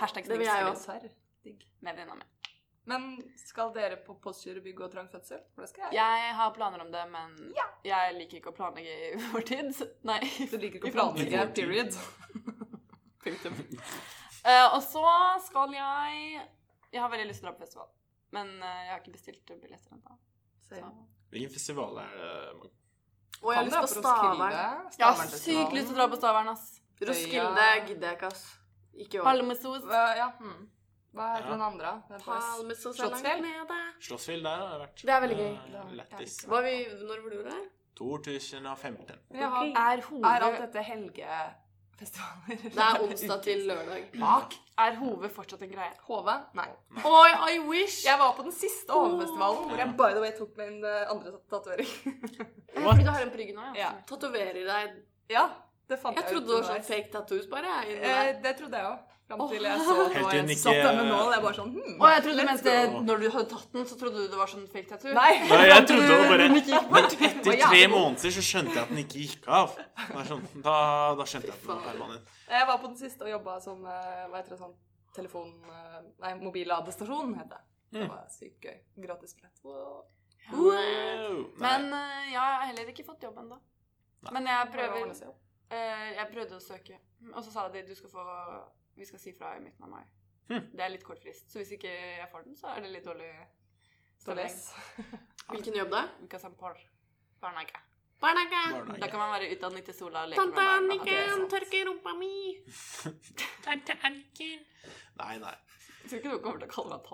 Speaker 8: Hashtag
Speaker 1: det vil jeg
Speaker 8: snikskryt
Speaker 1: også.
Speaker 3: Serr.
Speaker 8: med venninna mi.
Speaker 3: Men skal dere på postgiro bygg og trang fødsel? For det skal jeg.
Speaker 8: Jeg har planer om det, men jeg liker ikke å planlegge i <laughs> vår tid. Nei.
Speaker 3: Du liker ikke
Speaker 8: I
Speaker 3: å planlegge,
Speaker 2: framtiden.
Speaker 3: period. <laughs> Punktum.
Speaker 8: Eh, og så skal jeg Jeg har veldig lyst til å dra på festival, men eh, jeg har ikke bestilt billetter ennå.
Speaker 2: Hvilken festival er det?
Speaker 1: Og jeg har lyst på Stavern.
Speaker 8: Jeg har sykt lyst til å dra på Stavern, ass.
Speaker 1: Roskilde gidder jeg ikke, ass. Ikke i år.
Speaker 8: Palmesos.
Speaker 3: Ja, hmm. Hva er
Speaker 2: Ja.
Speaker 3: den andre? da? Det er bare-
Speaker 1: Palmesos er langt
Speaker 3: Slottsfjell?
Speaker 1: nede.
Speaker 2: Slottsfjell der har jeg vært.
Speaker 1: Det er veldig gøy.
Speaker 2: Eh, Lættis.
Speaker 1: Hva vi, når var du der?
Speaker 2: 2015.
Speaker 3: Vi har-
Speaker 8: Er
Speaker 3: Er alt
Speaker 8: Hove,
Speaker 3: dette helgefestivaler?
Speaker 1: Det er onsdag til lørdag.
Speaker 3: <laughs> Bak?
Speaker 8: er Hove fortsatt en greie?
Speaker 3: HV? Nei.
Speaker 1: Oi, I wish!
Speaker 3: Jeg var på den siste Hovefestivalen, hvor jeg by the way tok min eh, andre tatovering.
Speaker 8: Fordi du har en på ryggen nå, ja.
Speaker 3: Ja.
Speaker 1: Tatoverer deg.
Speaker 3: ja, det fant jeg,
Speaker 1: Jeg trodde
Speaker 3: ut.
Speaker 1: det var sånn
Speaker 3: underveis.
Speaker 1: fake tattoos, bare. jeg, inni
Speaker 3: Eh,
Speaker 1: der.
Speaker 3: det trodde jeg òg. Fram til jeg så at
Speaker 2: Helt
Speaker 3: det
Speaker 2: eh,
Speaker 3: var
Speaker 2: til
Speaker 3: en
Speaker 2: den
Speaker 3: satt
Speaker 2: ikke-
Speaker 3: der med nål. Jeg bare sånn hmm.
Speaker 8: Å, jeg trodde
Speaker 3: let's
Speaker 8: mens det,
Speaker 2: go.
Speaker 8: når du hadde tatt den, så trodde du det var sånn fake tattoo.
Speaker 3: Nei!
Speaker 2: Nei, jeg trodde det var bare
Speaker 8: Hun gikk
Speaker 2: Men etter tre måneder så skjønte jeg at den ikke gikk av. Det er sånn, da, da skjønte jeg at den var permanent.
Speaker 3: <laughs> Jeg var på den siste og jobba som eh, hva heter det sånn telefon... eh, Nei, mobilladestasjon, het det. Det
Speaker 2: Mm.
Speaker 3: var sykt gøy. Gratis billett. Wow.
Speaker 2: Wow. Nei,
Speaker 8: Men eh, jeg har heller ikke fått jobb ennå.
Speaker 2: Nei.
Speaker 8: Men jeg
Speaker 3: Bare
Speaker 8: prøver.
Speaker 3: ordne seg opp.
Speaker 8: Eh, jeg prøvde å søke, og så sa de du skal få Vi skal si fra i midten av mai.
Speaker 2: Hm.
Speaker 8: Det er litt kort frist, så hvis ikke jeg får den, så er det litt dårlig
Speaker 3: Så les.
Speaker 1: Hvilken jobb da?
Speaker 8: Vi kan se på barnehage.
Speaker 1: Barnehage.
Speaker 8: Da
Speaker 2: barnehage.
Speaker 8: kan man være utdannet til sola og leke
Speaker 1: Tante
Speaker 8: med barn.
Speaker 1: Anniken,
Speaker 8: Tror
Speaker 1: tørke rumpa mi.
Speaker 2: Nei, nei.
Speaker 8: ikke noen kommer til å kalle meg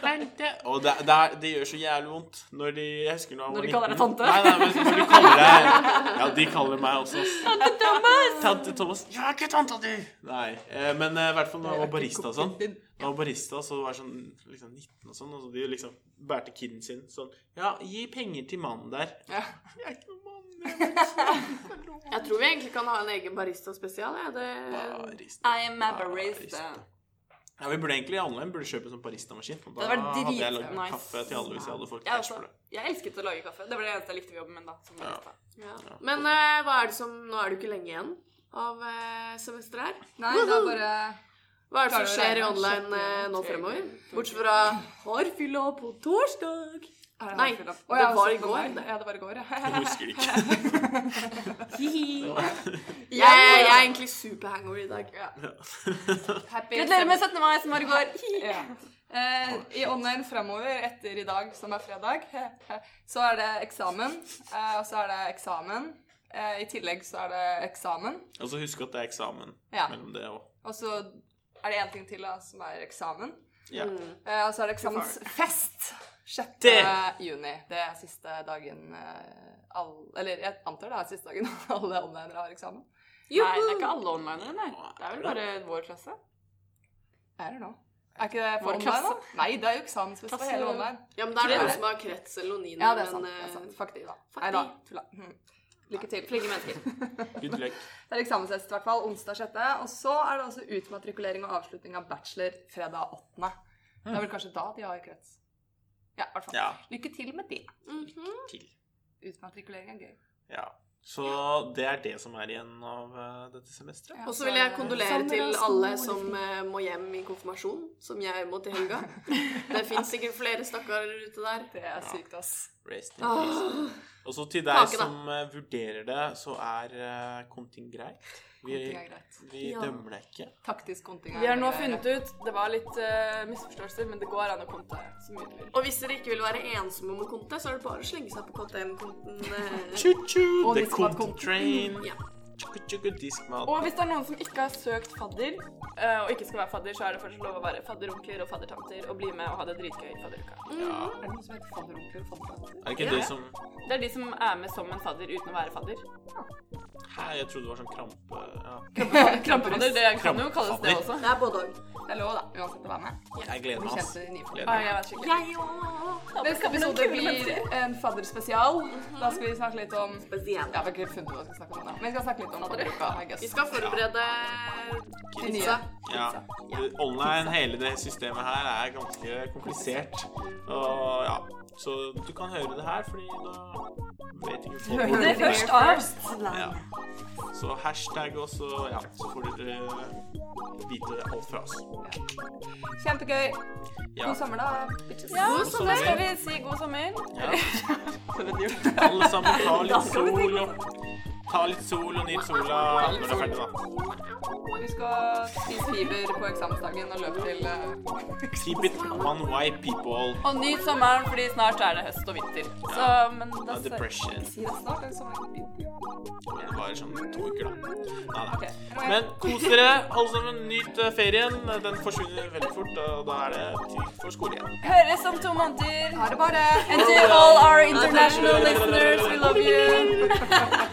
Speaker 8: tante.
Speaker 2: Og det, det, er, det gjør så jævlig vondt når de Jeg husker når jeg
Speaker 8: Når
Speaker 2: var
Speaker 8: de kaller deg
Speaker 2: 19.
Speaker 8: tante?
Speaker 2: Nei, nei, men når de kaller deg Ja, de kaller meg også Tante Thomas! Tante Thomas. Jeg er ikke tanta di! Nei. Eh, men eh, i hvert fall når jeg var barista og sånn. Når jeg var barista, så var jeg sånn liksom 19 og sånn, og så de liksom bærte kiden sin sånn Ja, gi penger til mannen der.
Speaker 3: Ja.
Speaker 2: Jeg er ikke noen mann. jeg
Speaker 1: Jeg tror vi egentlig kan ha en egen barista-spesial. jeg.
Speaker 2: er
Speaker 1: Det...
Speaker 2: Barista.
Speaker 8: Um, I am a barista.
Speaker 2: Ja, vi burde egentlig online burde kjøpe en sånn baristamaskin. og Da
Speaker 8: Det hadde vært
Speaker 2: hadde jeg lagd
Speaker 8: dritnice. altså.
Speaker 2: kaffe til alle hvis jeg hadde fått
Speaker 8: Jeg
Speaker 2: cash
Speaker 8: også.
Speaker 2: for det.
Speaker 8: Jeg elsket å lage kaffe. Det var det eneste jeg likte ved jobben min. da som
Speaker 2: Ja.
Speaker 8: barista.
Speaker 1: Ja. Men eh, hva er det som Nå er det jo ikke lenge igjen av eh, semesteret her.
Speaker 3: Nei, det er bare
Speaker 1: Hva er det som
Speaker 3: Klarer å
Speaker 1: skjer i
Speaker 3: regne
Speaker 1: online eh, nå fremover? Bortsett fra har fylla på torsdag.
Speaker 3: Er det
Speaker 1: Nei,
Speaker 3: her full opp?
Speaker 1: det
Speaker 3: Å, ja,
Speaker 1: var
Speaker 3: så
Speaker 1: i
Speaker 3: for
Speaker 1: går,
Speaker 3: meg.
Speaker 1: det.
Speaker 3: Ja, det var i går, ja. <laughs>
Speaker 2: Jeg husker
Speaker 8: <laughs>
Speaker 2: ikke.
Speaker 1: Jeg, jeg er egentlig superhangover i dag.
Speaker 3: Happy
Speaker 8: Gratulerer med 17. mai, som var i går.
Speaker 3: Ja. Eh, I online framover etter i dag, som er fredag, <laughs> så er det eksamen. Eh, og så er det eksamen. Eh, I tillegg så er det eksamen.
Speaker 2: Og så Altså, husk at det er eksamen
Speaker 3: Ja.
Speaker 2: mellom det og
Speaker 3: Og så er det én ting til da, som er eksamen.
Speaker 2: Ja.
Speaker 8: Mm.
Speaker 3: Eh, og så er det eksamensfest 6.
Speaker 2: Det-
Speaker 3: juni. Det er siste dagen eh, all, Eller jeg antar det er siste dagen <laughs> alle onlinere har eksamen.
Speaker 8: Nei, det er ikke alle onlinere, nei. Det er vel bare vår klasse.
Speaker 3: Er det nå? Er ikke det for
Speaker 8: Vår
Speaker 3: online,
Speaker 8: klasse.
Speaker 3: da? Nei, det er jo eksamensfest for
Speaker 8: Klasse-
Speaker 3: hele online.
Speaker 1: Ja, men det er
Speaker 3: Gratulerer.
Speaker 1: noen som har krets eller noen niner,
Speaker 3: Ja, det er sant.
Speaker 1: men,
Speaker 3: Det er sant.
Speaker 1: eh,
Speaker 3: Fuck de, da.
Speaker 1: fuck
Speaker 3: Nei da,
Speaker 1: de.
Speaker 3: tulla. Mhm. Lykke til. Flinke mennesker.
Speaker 2: Good luck.
Speaker 3: Det er eksamenshest i hvert fall, onsdag 6. Og så er det også utmatrikulering og avslutning av bachelor fredag 8. Det er vel kanskje da de har krets. Ja, i hvert fall.
Speaker 2: Ja.
Speaker 3: Lykke til med det.
Speaker 1: mhm.
Speaker 2: Til.
Speaker 3: Utmatrikulering er gøy.
Speaker 2: Ja. Så det er det som er igjen av eh, dette semesteret.
Speaker 3: Ja,
Speaker 1: Og så
Speaker 3: så
Speaker 1: vil
Speaker 3: er
Speaker 1: jeg
Speaker 3: det-
Speaker 1: kondolere til alle som eh, må hjem i konfirmasjon, som jeg må til
Speaker 3: <laughs>
Speaker 1: helga. Det fins sikkert flere stakkarer ute der.
Speaker 3: Det er sykt, ass.
Speaker 2: Rest in peace.
Speaker 1: Åh.
Speaker 2: Og så til deg
Speaker 1: Kake, da.
Speaker 2: som eh, vurderer det, så er eh, konting greit. Vi,
Speaker 3: Konting er greit.
Speaker 2: vi
Speaker 1: Ja.
Speaker 2: dømmer deg ikke.
Speaker 3: Taktisk konting
Speaker 8: Vi har nå funnet ut Det var litt eh, misforståelser, men det går an å komme til så mye du vil.
Speaker 1: Og hvis dere ikke vil være ensomme om å konte, så er det bare å slenge seg på KTM-konten. eh.
Speaker 2: Choo-choo,
Speaker 3: Og
Speaker 2: the
Speaker 3: diskmat
Speaker 2: content train.
Speaker 1: Ja.
Speaker 2: Choo-choo, diskmat.
Speaker 8: Mm, Og hvis det er noen som ikke har søkt fadder, eh, og ikke skal være fadder, så er det fortsatt lov å være fadderonkler og faddertanter og bli med og ha det dritgøy i fadderuka.
Speaker 2: Ja.
Speaker 3: Er det noe som heter fadderonkler og faddertanter?
Speaker 2: Er det ikke det som
Speaker 8: Det er de som er med som en fadder uten å være fadder.
Speaker 2: Hæ, jeg trodde det var sånn krampe... Ja.
Speaker 8: Krampefadder, det kan jo kalles det også.
Speaker 1: Det er både òg.
Speaker 3: <laughs> Det er lov, da. Uansett å være med.
Speaker 2: Jeg gleder meg, ass.
Speaker 3: Kjente de nye folk.
Speaker 2: Gleder
Speaker 8: Ah,
Speaker 2: meg.
Speaker 8: jeg vet ikke.
Speaker 3: Neste episode blir en fadderspesial. Da skal vi snakke litt om
Speaker 1: Spesielt.
Speaker 3: Ja, vi har ikke helt funnet ut hva vi skal snakke om ennå. Men vi skal snakke litt om fadderuka. I guess.
Speaker 1: Vi skal forberede
Speaker 3: De nye.
Speaker 1: pizza.
Speaker 2: Ja. Online, hele det systemet her, er ganske komplisert. Og ja, så du kan høre det her, fordi da vet ikke folk hvor
Speaker 8: Det er
Speaker 2: det
Speaker 8: først av.
Speaker 2: Ja. Så hashtag oss, og ja, så får dere vite alt fra oss.
Speaker 3: Kjempegøy.
Speaker 2: Ja.
Speaker 3: God sommer, da. bitches.
Speaker 2: God sommer.
Speaker 8: Skal vi si god sommer?
Speaker 2: Ja.
Speaker 3: <laughs>
Speaker 2: Alle sammen, ta litt sol og Ta litt sol og nyt sola når det er ferdig, da.
Speaker 3: Husk å spise fiber på eksamensdagen og løp til eh,
Speaker 2: Keep it one way, people.
Speaker 8: Og nyt sommeren, fordi snart er det høst og vinter. Så, men da
Speaker 2: No depression.
Speaker 3: Si det snart. Det er sommer.
Speaker 2: Det er bare sånn to uker, da. Nei, nei.
Speaker 3: Ok.
Speaker 2: Men kos dere, alle sammen. Nyt eh, ferien. Den forsvinner veldig fort, og da er det tid for skole igjen.
Speaker 8: høres om to måneder.
Speaker 3: Ha det bare.
Speaker 8: And to all our international listeners, we love you.